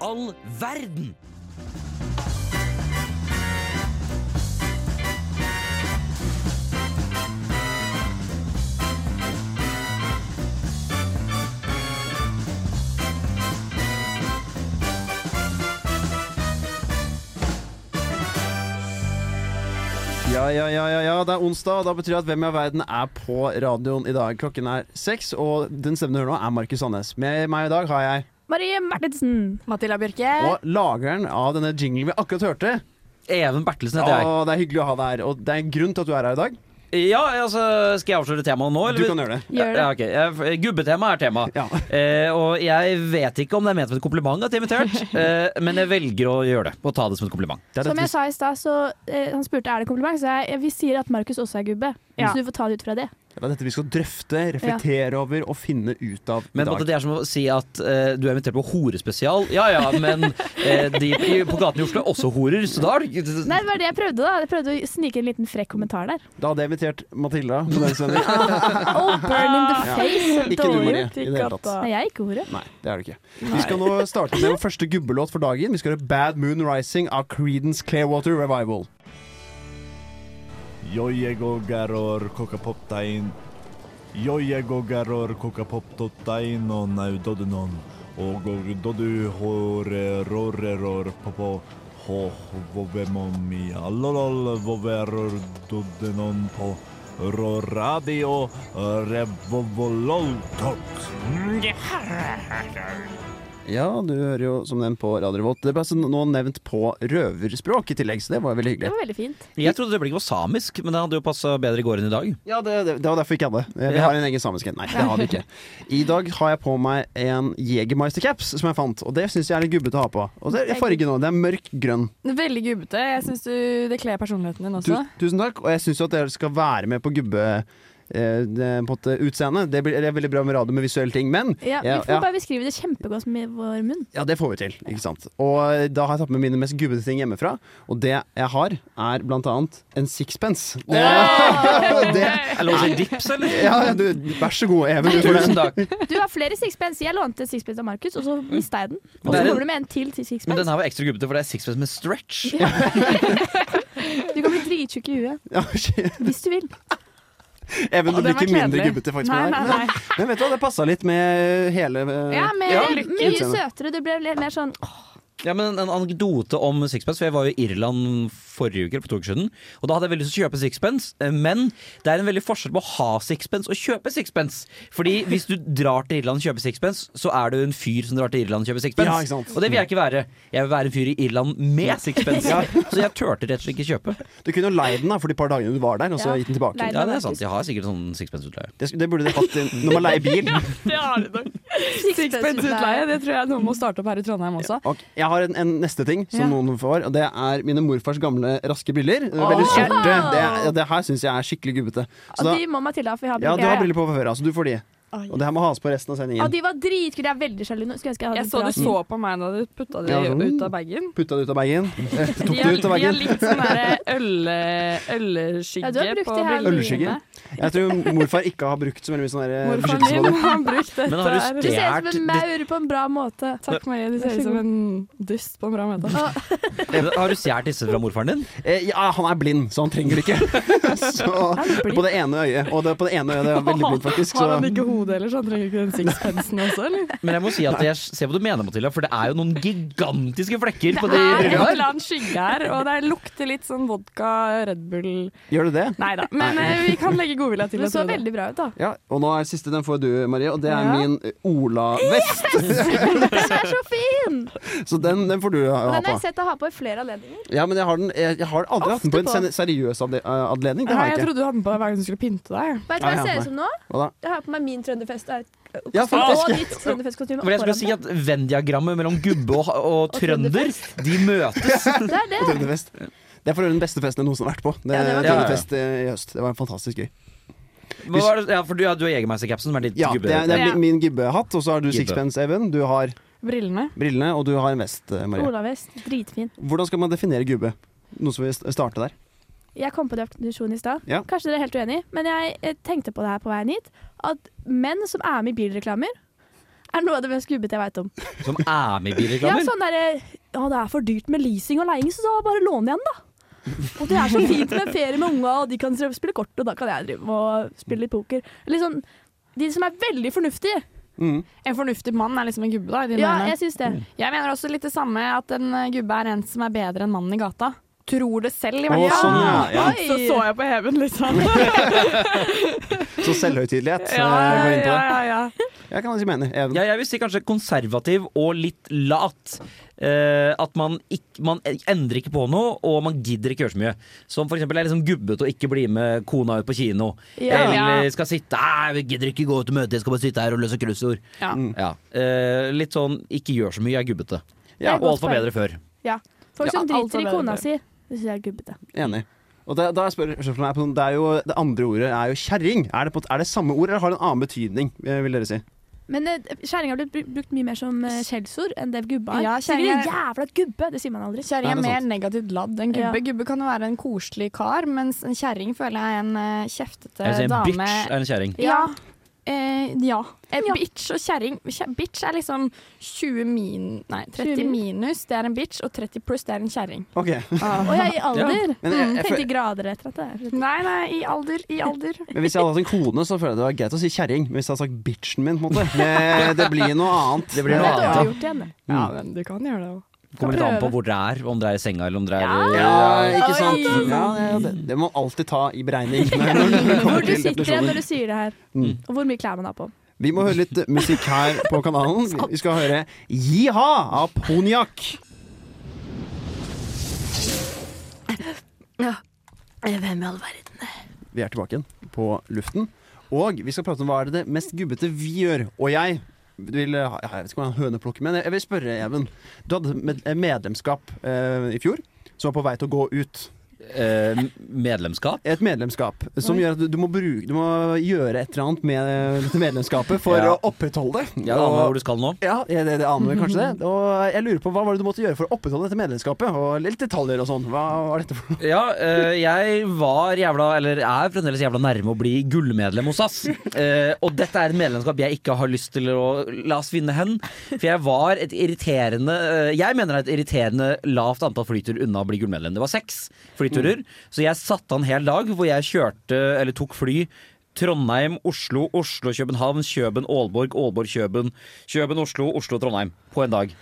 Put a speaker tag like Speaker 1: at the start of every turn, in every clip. Speaker 1: all verden?
Speaker 2: Ja, ja, ja, ja, ja, det er onsdag, og da betyr det at Hvem i all verden er på radioen i dag. Klokken er seks, og den stemmen du hører nå, er Markus Sandnes. Med meg i dag har jeg
Speaker 3: Marie Martinsen.
Speaker 4: Matilda Bjørke.
Speaker 2: og lageren av denne jinglen vi akkurat hørte.
Speaker 1: Even Bertelsen heter jeg.
Speaker 2: Og det er hyggelig å ha deg her, og det er en grunn til at du er her i dag.
Speaker 1: Ja, altså, Skal jeg avsløre temaet nå?
Speaker 2: Du kan gjøre det.
Speaker 3: Gjør det.
Speaker 1: Ja, ok. Eh, Gubbetema er tema.
Speaker 2: Ja.
Speaker 1: Eh, og jeg vet ikke om det er ment som et kompliment at jeg er invitert, eh, men jeg velger å gjøre det. Og ta det som et kompliment.
Speaker 2: Det er
Speaker 3: Som
Speaker 2: dette
Speaker 3: jeg sa i stad, så eh, han spurte er det kompliment, så jeg, vi sier at Markus også er gubbe.
Speaker 4: Ja.
Speaker 3: Så du får ta det ut fra det.
Speaker 2: vi, det er dette vi skal drøfte, reflektere over og finne ut av i
Speaker 1: Men på en måte,
Speaker 2: dag.
Speaker 1: det er som å si at eh, du er invitert på horespesial. Ja ja, men eh, de i- på gaten i Oslo er også horer, så da har du ikke
Speaker 3: Nei, det var det jeg prøvde, da. Jeg prøvde å snike en liten frekk kommentar der.
Speaker 2: Da hadde jeg invitert Matilda. På den sendingen.
Speaker 3: Oh, burn in the
Speaker 2: Ja.
Speaker 3: face.
Speaker 2: Ikke du, Marie. I det hele tatt.
Speaker 3: Nei, jeg er ikke ordet.
Speaker 2: Nei, det er det ikke. Vi skal nå starte med vår første gubbelåt for dagen. Vi skal høre Bad Moon Rising av Creedence Clearwater Revival.
Speaker 5: Yo llego garor kokapoptain. Yo llego garor kokapoptotain og naudodunon. Og og dodu hore roreror popo. Ho vovemomi allolol voveror dodenon po. Roradio revovololtot.
Speaker 2: Ja, du hører jo som nevnt på Radio Revolt. Det ble altså nå nevnt på røverspråk i tillegg, så det var veldig
Speaker 3: Det
Speaker 2: hyggelig.
Speaker 3: var veldig fint.
Speaker 1: Jeg trodde det var samisk, men det hadde jo passa bedre i går enn i dag.
Speaker 2: Ja, det, det, det var derfor vi ikke hadde det. Eh, Vi
Speaker 1: Ja.
Speaker 2: har en egen samisk en. Nei, det har vi ikke. I dag har jeg på meg en Jegermeister-caps som jeg fant, og det syns jeg er litt gubbete å ha på. Og det er fargen òg. Det er mørk grønn.
Speaker 4: Veldig gubbete. Jeg syns du det kler personligheten din
Speaker 2: Tu,
Speaker 4: også.
Speaker 2: tusen takk. Og jeg syns jo at dere skal være med på gubbe... Eh, det- på en måte utseende. Det blir- det er veldig bra med radio med visuelle ting, men
Speaker 3: Ja, vi
Speaker 2: Ja,
Speaker 3: får
Speaker 2: ja.
Speaker 3: bare beskrive det kjempegodt med vår munn.
Speaker 2: Ja, det får vi til. ikke sant? Og eh, da har jeg tatt med mine mest gubbete ting hjemmefra. Og det jeg har, er blant annet en sixpence. Det, det,
Speaker 1: Er det lov å si dips, eller?
Speaker 2: ja, ja, du, vær så god, Even. Du får den.
Speaker 1: Tusen takk.
Speaker 3: Du har flere sixpence. Jeg lånte en sixpence av Markus, og så mista jeg den.
Speaker 1: Det
Speaker 3: Og
Speaker 1: er
Speaker 3: så
Speaker 1: en-
Speaker 3: kommer du med en til
Speaker 1: Men
Speaker 3: til sixpence.
Speaker 1: den her var ekstra gubbete, for det er sixpence med stretch.
Speaker 3: Du kan bli drittjukk i huet
Speaker 2: Ja, shit.
Speaker 3: hvis du vil.
Speaker 2: Even, du
Speaker 4: Å, den
Speaker 2: blir ikke
Speaker 4: var
Speaker 2: mindre
Speaker 4: kledelig.
Speaker 2: gubbete, faktisk. med
Speaker 4: Nei, nei,
Speaker 2: deg.
Speaker 4: nei.
Speaker 2: Men vet du hva, det passa litt med hele eh,
Speaker 3: Ja, men
Speaker 1: Ja,
Speaker 3: mye søtere. Du ble litt mer sånn
Speaker 1: Ja, men En anekdote om sixpence. for Jeg var jo i Irland forrige uke. eller for to uker siden Og Da hadde jeg veldig lyst til å kjøpe sixpence, eh, men det er en veldig forskjell på å ha sixpence og kjøpe sixpence. Fordi hvis du drar til Irland og kjøper sixpence, så er du en fyr som drar til Irland og kjøper sixpence.
Speaker 2: Ja, ikke sant.
Speaker 1: Og det vil jeg ikke være. Jeg vil være en fyr i Irland med sixpence.
Speaker 2: Ja.
Speaker 1: Så jeg turte rett og slett ikke kjøpe.
Speaker 2: Du kunne jo leid den da, for de par dagene du var der, og så
Speaker 3: Ja,
Speaker 2: gitt den tilbake.
Speaker 3: leid.
Speaker 1: Ja, det er sant. Jeg har sikkert sånn sixpence-utleie.
Speaker 2: Det, det burde de hatt inn- når man leier bil.
Speaker 4: Sixpence-utleie, det tror jeg noen må starte opp her i Trondheim også.
Speaker 2: Ok, Jeg har en, en neste ting som
Speaker 4: Ja.
Speaker 2: noen får, og det er mine morfars gamle raske briller. Veldig
Speaker 4: Åh.
Speaker 2: sorte. Det, ja, det her syns jeg er skikkelig gubbete. Så
Speaker 3: Og
Speaker 2: da-
Speaker 3: de må Matilda få ha
Speaker 2: Ja, du
Speaker 3: briller.
Speaker 2: har briller på fra før, altså. Du får de.
Speaker 4: Oi.
Speaker 2: Og det her må has på resten av
Speaker 3: Ja,
Speaker 2: sendingen.
Speaker 3: de var dritkule. Jeg er veldig sjalu. nå. Skulle ønske jeg hadde
Speaker 4: Jeg
Speaker 3: en
Speaker 4: så du
Speaker 3: bra-
Speaker 4: så på meg da du putta det
Speaker 2: Ja, sånn.
Speaker 4: ut av bagen.
Speaker 2: Putta det ut av bagen. Eh, Tok
Speaker 4: De
Speaker 2: det
Speaker 4: har,
Speaker 2: ut av
Speaker 4: de har
Speaker 2: bagen.
Speaker 4: litt sånn derre ølle- ølskygge
Speaker 3: Ja, du har brukt
Speaker 4: på
Speaker 3: de her
Speaker 4: brillene.
Speaker 2: Ølskygge? Jeg tror morfar ikke har brukt så veldig mye sånn der, eh,
Speaker 4: Morfaren
Speaker 2: beskyttelse
Speaker 4: min
Speaker 2: på det.
Speaker 4: har brukt dette.
Speaker 1: Men har du
Speaker 3: Du
Speaker 4: her.
Speaker 3: ser ut
Speaker 1: Det
Speaker 3: som
Speaker 1: er-
Speaker 3: en maur på en bra måte.
Speaker 4: Takk, Marie. Du ser ut som en dust på en bra måte.
Speaker 1: Eh, Har du stjålet disse fra morfaren din?
Speaker 2: Eh, Ja, han er blind, så han trenger det ikke. Så på det ene øyet. Og det, på det ene øyet det er veldig blind, faktisk.
Speaker 4: Har han
Speaker 2: Så
Speaker 4: ikke hode heller, så han trenger ikke den sixpencen også, eller?
Speaker 1: Men jeg må si at jeg ser hva du mener, Matilda, for det er jo noen gigantiske flekker på de
Speaker 4: Det er en
Speaker 1: brillene.
Speaker 4: eller annen skygge her, og det lukter litt sånn vodka, Red Bull
Speaker 2: gjør du det?
Speaker 4: Nei da. Men eh, vi kan legge godvilja til.
Speaker 3: Det
Speaker 4: jeg
Speaker 3: så
Speaker 4: tror det.
Speaker 3: veldig bra ut, da.
Speaker 2: Ja, Og nå er siste, den får du, Marie, og det er
Speaker 4: Ja.
Speaker 2: min eh, Ola-vest.
Speaker 3: Den er så fin!
Speaker 2: Så den, den får du eh,
Speaker 3: Og
Speaker 2: ha
Speaker 3: den har
Speaker 2: på.
Speaker 3: jeg sett deg ha på i flere anledninger.
Speaker 2: Ja, men jeg har, den, jeg, jeg har aldri hatt den på en
Speaker 3: Ofte på.
Speaker 2: seri- seriøs ade- eh, anledning. Det
Speaker 4: Nei,
Speaker 2: har
Speaker 4: jeg
Speaker 2: jeg ikke.
Speaker 4: trodde du hadde den på hver gang du skulle pynte deg.
Speaker 3: Vet du
Speaker 2: Ja, ja,
Speaker 3: hva jeg ser
Speaker 2: nei.
Speaker 3: ut som nå?
Speaker 2: Hva da?
Speaker 3: Jeg har på meg min trønderfest er-
Speaker 2: Ja, faktisk.
Speaker 3: og ditt trønderfestkostyme.
Speaker 1: For jeg skulle
Speaker 3: oppå
Speaker 1: si at Venn-diagrammet mellom gubbe og, og trønder, de møtes.
Speaker 3: hverandre. Det er det.
Speaker 2: Trønderfest. Det er for øvrig den beste festen jeg noensinne har vært på. Det,
Speaker 3: Ja, det var
Speaker 1: gøy.
Speaker 2: Trønderfest eh, i høst. Det var fantastisk gøy.
Speaker 1: Hva var det, ja, for du, ja, du har Jegermeister-capsen, som er ditt
Speaker 2: Ja, det
Speaker 1: gubbe.
Speaker 2: er, det er
Speaker 4: Ja.
Speaker 2: min- min gibbehatt, og så har du
Speaker 1: Gibbe.
Speaker 2: sixpence, Even. Du har
Speaker 4: Brillene.
Speaker 2: brillene, og du har en vest, eh, Maria.
Speaker 3: Olavest. Dritfin.
Speaker 2: Hvordan skal man definere gubbe? Noe som vil st- starte der.
Speaker 3: Jeg kom på definisjonen i stad.
Speaker 2: Ja.
Speaker 3: Kanskje dere er helt uenige, men jeg eh, tenkte på det her på veien hit. At menn som er med i bilreklamer, er er noe av det mest gubbete jeg veit om.
Speaker 1: Som er med i
Speaker 3: Ja,
Speaker 1: bilreklamer.
Speaker 3: sånn derre Ja, det er for dyrt med leasing og leiing, så da bare låner jeg den, da. Og det er så fint med ferie med unga, og de kan drive og spille kort, og da kan jeg drive og spille litt poker. Litt sånn De som er veldig fornuftige.
Speaker 2: Mm.
Speaker 4: En fornuftig mann er liksom en gubbe, da. i dine
Speaker 3: Ja,
Speaker 4: øyne.
Speaker 3: jeg syns det.
Speaker 4: Jeg mener også litt det samme, at en eh, gubbe er en som er bedre enn mannen i gata. Tror det selv, i
Speaker 2: Å,
Speaker 4: hvert fall.
Speaker 2: sånn, ja. ja.
Speaker 3: Oi.
Speaker 4: Så så jeg på Heaven, liksom.
Speaker 2: Så selvhøytidelighet
Speaker 4: ja,
Speaker 2: eh, går inn på
Speaker 4: ja,
Speaker 2: det.
Speaker 4: ja, ja.
Speaker 2: Jeg kan liksom mene Even.
Speaker 1: Ja, jeg vil si kanskje konservativ og litt lat. Eh, at man, ikk- man endrer ikke på noe, og man gidder ikke gjøre så mye. Som for eksempel er liksom gubbete å ikke bli med kona ut på kino.
Speaker 3: Ja.
Speaker 1: Eller skal sitte Nei, vi gidder ikke gå ut og møte, jeg skal bare sitte her og løse kryssord.
Speaker 4: Ja.
Speaker 2: Mm.
Speaker 1: Ja. Eh, litt sånn ikke gjør så mye, er gubbete.
Speaker 2: Ja,
Speaker 1: og alt var bedre før.
Speaker 3: Folk som
Speaker 4: Ja, alt
Speaker 3: driter i
Speaker 4: var
Speaker 3: kona
Speaker 4: bedre.
Speaker 3: si, det syns jeg er gubbete.
Speaker 2: Enig. Og da, da er spør, spørsmålet er på, det, er jo, det andre ordet er jo kjerring. Er, det på- er det samme ord, eller har det en annen betydning, eh, vil dere si?
Speaker 3: Men eh, kjerring har blitt bru- brukt mye mer som eh, skjellsord enn det gubba er.
Speaker 4: Ja,
Speaker 3: sier du
Speaker 4: kjerring er-
Speaker 3: jævla gubbe? Det sier man aldri.
Speaker 4: Kjerring
Speaker 2: Nei,
Speaker 4: er
Speaker 2: det er
Speaker 4: mer
Speaker 2: sant.
Speaker 4: negativt ladd enn gubbe. Gubbe kan jo være en koselig kar, mens en kjerring føler jeg er en eh, kjeftete
Speaker 1: Jeg vil si en
Speaker 4: dame.
Speaker 1: bitch er en kjerring.
Speaker 4: Ja. Eh, ja. Eh,
Speaker 3: Ja.
Speaker 4: Bitch og kjerring. Kje- Bitch er liksom 20 min... Nei, 30
Speaker 3: 20
Speaker 4: minus, det er en bitch, og 30 pluss, det er en kjerring.
Speaker 2: Ok.
Speaker 4: Ah.
Speaker 3: Og jeg i alder. Mm,
Speaker 2: Men, jeg, jeg,
Speaker 3: Tenkte
Speaker 2: føler-
Speaker 3: grader etter at det er
Speaker 4: Nei, nei, i alder. I alder.
Speaker 2: men hvis jeg hadde hatt en kone, så føler jeg det var greit å si kjerring. Men hvis jeg hadde sagt bitchen min, på en måte Det, det blir noe annet.
Speaker 1: Det blir noe
Speaker 3: Det er
Speaker 1: annet,
Speaker 2: Ja.
Speaker 3: dårlig gjort igjen. det.
Speaker 4: Ja, men du kan gjøre det òg.
Speaker 1: Kommer litt an på hvor det er. Om det er i senga eller om det er
Speaker 2: Ja, ikke sant?
Speaker 3: Oi.
Speaker 2: Ja, ja, det, det må man alltid ta i beregning. Når, når det
Speaker 3: Hvor
Speaker 2: kommer
Speaker 3: du
Speaker 2: til
Speaker 3: sitter igjen
Speaker 2: definisjoner.
Speaker 3: når du sier det her.
Speaker 2: Mm.
Speaker 3: Og hvor mye klær man har på.
Speaker 2: Vi må høre litt musikk her på kanalen. Vi skal høre Jiha av Ponjakk.
Speaker 3: Hvem i all verden?
Speaker 2: Vi er tilbake igjen på luften. Og vi skal prate om hva er det det mest gubbete vi gjør. Og jeg vil eh, Jeg vet ikke om jeg er høneplukker, men jeg vil spørre, Even. Du hadde med- medlemskap eh, i fjor som var på vei til å gå ut.
Speaker 1: eh, medlemskap.
Speaker 2: Et medlemskap som
Speaker 3: Oi.
Speaker 2: gjør at du, du, må bruke, du må gjøre et eller annet med dette medlemskapet for
Speaker 1: Ja.
Speaker 2: å opprettholde det.
Speaker 1: Ja, det aner jeg hvor du skal nå.
Speaker 2: Ja, det, det aner vi kanskje det. Og jeg lurer på Hva var det du måtte gjøre for å opprettholde dette medlemskapet? Og litt detaljer og sånn. Hva var dette for noe?
Speaker 1: Ja, eh, jeg var jævla, eller er fremdeles jævla nærme å bli gullmedlem hos SAS. Eh, og dette er et medlemskap jeg ikke har lyst til å la oss vinne hen. For jeg var et irriterende eh, Jeg mener det er et irriterende lavt antall flyturer unna å bli gullmedlem. Det var seks flyturer. Så jeg satte av en hel dag hvor jeg kjørte, eller tok fly. Trondheim, Oslo, Oslo, København, Kjøben, Aalborg, Aalborg, Kjøben. Kjøben, Oslo, Oslo, Trondheim. På en dag.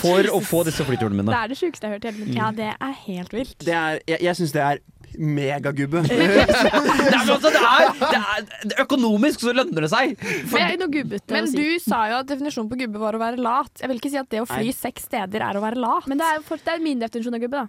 Speaker 1: For å få disse flyturene
Speaker 3: Det
Speaker 1: mine.
Speaker 3: er det sjukeste jeg har hørt i hele mitt liv.
Speaker 4: Ja, det er helt vilt.
Speaker 2: Det er, jeg jeg syns det er megagubbe.
Speaker 1: Det er, men altså, det er, det er, økonomisk så lønner det seg.
Speaker 3: Men det er noe gubbete
Speaker 4: Men
Speaker 3: å si.
Speaker 4: du sa jo at definisjonen på gubbe var å være lat. Jeg vil ikke si at det å fly
Speaker 2: Nei.
Speaker 4: seks steder er å være lat.
Speaker 3: Men det er, for, det er min definisjon av gubbe, da.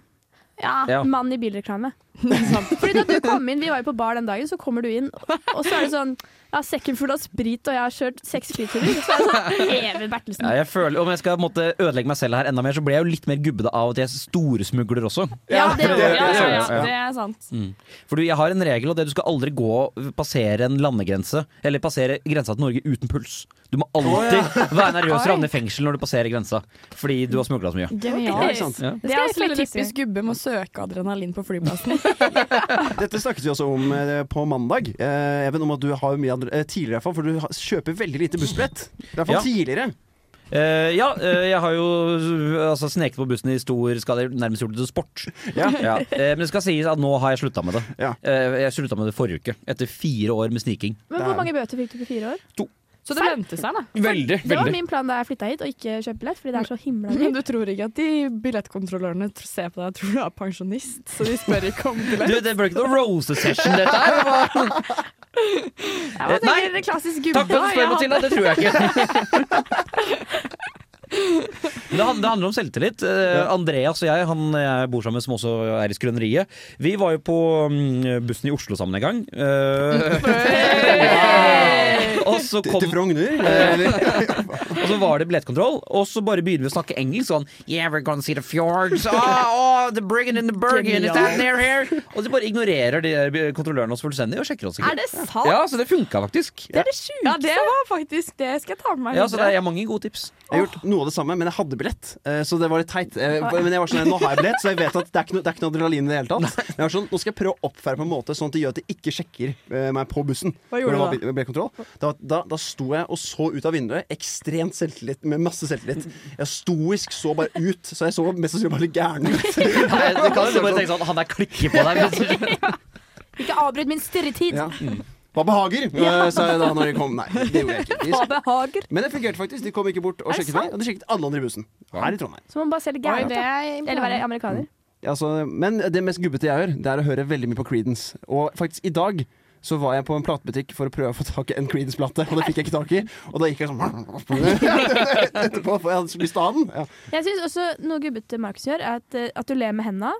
Speaker 4: ja.
Speaker 1: Ja.
Speaker 3: Mann i bilreklame. Fordi da du kom inn, Vi var jo på bar den dagen, så kommer du inn, og så er det sånn Jeg har sekken full av sprit, og jeg har kjørt seks flyturer. Så er det sånn Even Bertelsen.
Speaker 1: Ja, jeg føler, Om jeg skal måtte ødelegge meg selv her enda mer, så blir jeg jo litt mer gubbete av at jeg storsmugler også.
Speaker 3: Ja, det
Speaker 4: ja,
Speaker 3: var-
Speaker 4: ja, ja,
Speaker 1: ja, ja.
Speaker 4: det er sant.
Speaker 1: For du, jeg har en regel, og det er du skal aldri gå passere en landegrense, eller passere grensa til Norge uten puls. Du må alltid være nervøs og
Speaker 4: Oi.
Speaker 1: havne i fengsel når du passerer grensa, fordi du har smugla så mye.
Speaker 2: Ja,
Speaker 4: Genialt.
Speaker 2: ikke sant?
Speaker 1: Ja.
Speaker 4: Det er også litt typisk gubbe med å søke adrenalin på flyplassen.
Speaker 2: Dette snakket vi også om eh, på mandag. Eh, Even, om at du har mye andre, eh, tidligere, i hvert fall, for du har- kjøper veldig lite bussbrett. I hvert fall
Speaker 1: Ja.
Speaker 2: tidligere.
Speaker 1: Eh, ja, eh, jeg har jo eh, altså, sneket på bussen i stor skade, nærmest gjort det til sport.
Speaker 2: Ja.
Speaker 1: Ja. Eh, men det skal sies at nå har jeg slutta med det.
Speaker 2: Ja.
Speaker 1: Eh, jeg slutta med det forrige uke, etter fire år med sniking.
Speaker 3: Men hvor mange bøter fikk du på fire år?
Speaker 4: Så det lønte seg, da.
Speaker 1: Veldig,
Speaker 3: Det var min plan da jeg flytta hit, å ikke kjøpe billett, fordi det er så himla
Speaker 4: Men
Speaker 3: dyrt.
Speaker 4: du tror ikke at de billettkontrollørene tr- ser på deg og tror du er pensjonist, så de spør ikke om
Speaker 1: Du,
Speaker 4: billett.
Speaker 1: det ble ikke noe rose-session, dette her. Det var-
Speaker 4: Jeg
Speaker 1: Nei.
Speaker 4: tenker det er klassisk gubbe.
Speaker 1: Takk for at du
Speaker 4: jeg
Speaker 1: spør,
Speaker 4: hadde-
Speaker 1: Mathilda. Det tror jeg ikke. Men Det handler, det handler om selvtillit. Eh, Andreas og jeg, han jeg bor sammen med, som også er i Skrøneriet, vi var jo på mm, bussen i Oslo sammen en gang. Eh, og, så
Speaker 2: Til, til
Speaker 1: kom,
Speaker 2: Frogner. eh, eller-
Speaker 1: og så var det billettkontroll, og så bare begynner vi å snakke engelsk sånn Yeah, we're gonna see the fjords. Oh, oh, the Brigand and the Bergen, is that near here? Og de bare ignorerer de der kontrollørene oss fullstendig og sjekker oss ikke.
Speaker 4: Er det sant?
Speaker 1: Ja, så det funka faktisk.
Speaker 3: Det er det sjukeste!
Speaker 4: Ja, det var faktisk Det skal jeg ta med meg
Speaker 1: Ja, så det
Speaker 4: videre.
Speaker 1: er mange gode tips.
Speaker 2: Jeg har gjort noe av det samme, men jeg hadde billett. eh, Så det var litt teit. Eh, Men jeg var sånn, nå har jeg billett, så jeg vet at det er ikke noe, det er ikke noe adrenalin i det hele tatt. Men jeg var sånn, nå skal jeg prøve å oppfære på en måte sånn at det gjør at de ikke sjekker eh, meg på bussen.
Speaker 4: Hva
Speaker 2: Når det
Speaker 4: gjorde du
Speaker 2: var bil- billettkontroll. Da, da da, da sto jeg og så ut av vinduet, ekstremt selvtillit, med masse selvtillit. Jeg stoisk så bare ut, så jeg så mest sannsynlig bare litt gæren ut.
Speaker 1: Nei, Du kan jo bare tenke sånn, han der klikker på deg. liksom. hvis du-
Speaker 3: Ikke avbryt min stirretid!
Speaker 2: Ja. Hva behager? eh, sa jeg da når de kom. Nei, det gjorde jeg ikke.
Speaker 3: Hva
Speaker 2: De-
Speaker 3: behager?
Speaker 2: Men det fungerte faktisk. De kom ikke bort og
Speaker 3: Er det
Speaker 2: sjekket meg, og de sjekket alle andre i bussen. Her i Trondheim.
Speaker 3: Så må man bare se litt
Speaker 4: Oi,
Speaker 3: gæren ut.
Speaker 4: det
Speaker 3: da.
Speaker 4: er
Speaker 3: Eller være
Speaker 4: imponerende.
Speaker 3: amerikaner.
Speaker 2: Altså, men det mest gubbete jeg gjør, det er å høre veldig mye på Creedence. Og faktisk, i dag så var jeg på en platebutikk for å prøve å få tak i en Creedence-plate, og det fikk jeg ikke tak i. Og da gikk jeg sånn etterpå, for jeg hadde så lyst til å ha den. Ja.
Speaker 3: Jeg syns også noe gubbete Markus gjør, er at, eh, at du ler med henda.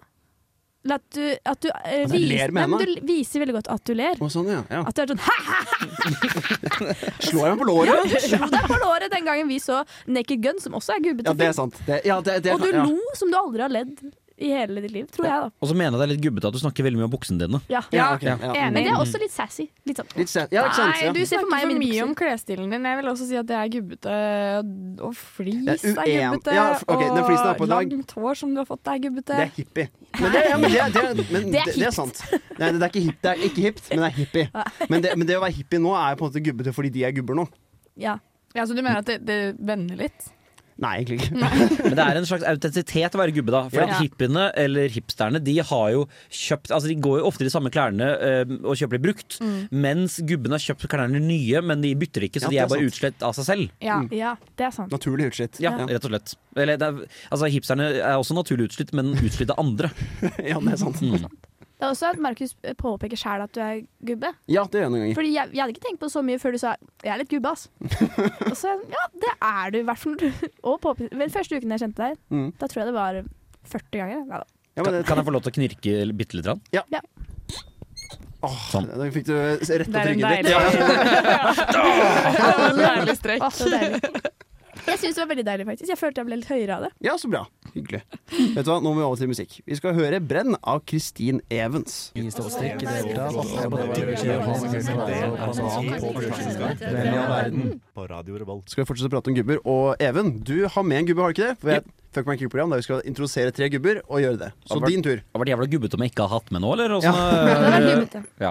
Speaker 3: Eller at du, at du, eh,
Speaker 2: At jeg
Speaker 3: vis-
Speaker 2: Altså, ler med
Speaker 3: Nei, men
Speaker 2: hendene?
Speaker 3: Du viser veldig godt at du ler.
Speaker 2: Og sånn, ja. ja.
Speaker 3: At du er sånn Hæ!
Speaker 2: Slår jeg meg på låret?
Speaker 3: Slo deg på låret den gangen vi så Naked Gun, som også er gubbete.
Speaker 2: Ja, det er
Speaker 3: film.
Speaker 2: sant. Det, ja, det, det,
Speaker 3: og du
Speaker 2: ja.
Speaker 3: lo som du aldri har ledd i hele ditt liv, tror jeg, da.
Speaker 1: Og så mener jeg det er litt gubbete at du snakker veldig mye om buksene dine.
Speaker 3: Ja.
Speaker 2: Ja, ok, ja.
Speaker 4: Enig.
Speaker 3: Men det er også litt sassy. Litt sånn.
Speaker 2: Litt sent. Ja, ikke sant?
Speaker 4: Nei,
Speaker 2: Ja.
Speaker 4: du
Speaker 3: Se på
Speaker 4: snakker
Speaker 3: meg og
Speaker 4: for
Speaker 3: mine
Speaker 4: mye
Speaker 3: bukser.
Speaker 4: om klesstilen din. Jeg vil også si at det er gubbete, og flis
Speaker 2: Det er
Speaker 4: er
Speaker 2: uen-
Speaker 4: gubbete,
Speaker 2: Ja, f- ok, den flisen er på
Speaker 4: og
Speaker 2: dag.
Speaker 4: langt hår som du har fått, er gubbete.
Speaker 2: Det er hippie. Men det, ja, men det, det, men det, det er sant. Nei, det, er ikke hip, det er ikke hipt, men det er hippie. Men det, men det å være hippie nå er jo på en måte gubbete fordi de er gubber nå.
Speaker 3: Ja.
Speaker 4: Ja, Så du mener at det, det vender litt?
Speaker 2: Nei, egentlig ikke.
Speaker 1: Men det er en slags autentisitet å være gubbe, da. For
Speaker 2: Ja.
Speaker 1: at hippiene, eller hipsterne, de har jo kjøpt Altså, de går jo ofte i de samme klærne eh, og kjøper de brukt,
Speaker 4: Mm.
Speaker 1: mens gubbene har kjøpt klærne nye, men de bytter ikke, så
Speaker 2: Ja,
Speaker 1: de
Speaker 2: det er
Speaker 1: er bare
Speaker 2: sant.
Speaker 1: utslett av seg selv.
Speaker 2: Mm.
Speaker 4: Ja.
Speaker 3: ja, det er sant.
Speaker 2: Naturlig utslitt.
Speaker 1: Ja, rett og slett. Eller, det er, altså, hipsterne er også naturlig utslitt, men utslitt av andre.
Speaker 2: ja, det er sant.
Speaker 3: Det er også at Markus eh, påpeker sjæl at du er gubbe.
Speaker 2: Ja, det gjør jeg noen ganger.
Speaker 3: Fordi jeg, jeg hadde ikke tenkt på det så mye før du sa 'jeg er litt gubbe', ass. og så ja, det er du i hvert fall. Og påpe- vel, første uken jeg kjente deg,
Speaker 2: Mm.
Speaker 3: da tror jeg det var 40 ganger. Neida.
Speaker 2: Ja, men
Speaker 1: Kan,
Speaker 2: det,
Speaker 1: kan jeg få lov til å knirke bitte litt? grann?
Speaker 2: Åh, da fikk du rett på
Speaker 4: Det er en
Speaker 2: tryggen ditt.
Speaker 4: deilig,
Speaker 2: Ja.
Speaker 4: en deilig strekk.
Speaker 3: Å, så deilig. Jeg syns det var veldig deilig, faktisk. Jeg følte jeg ble litt høyere av det.
Speaker 2: ja, så bra. Hyggelig. Vet du hva, Nå må vi over til musikk. Vi skal høre 'Brenn' av Christine Evans.
Speaker 5: På Radio Revolt.
Speaker 2: Skal vi fortsette å prate om gubber. Og Even, du har med en gubbe, har du ikke det? For jeg, Fuck my program der vi skal introdusere tre gubber og gjøre det. Så
Speaker 1: Albert.
Speaker 2: din tur.
Speaker 1: Det har vært jævla gubbete om jeg ikke har hatt med nå, eller? Åssen,
Speaker 3: Det var
Speaker 1: eh,
Speaker 3: gubbete.
Speaker 1: Ja.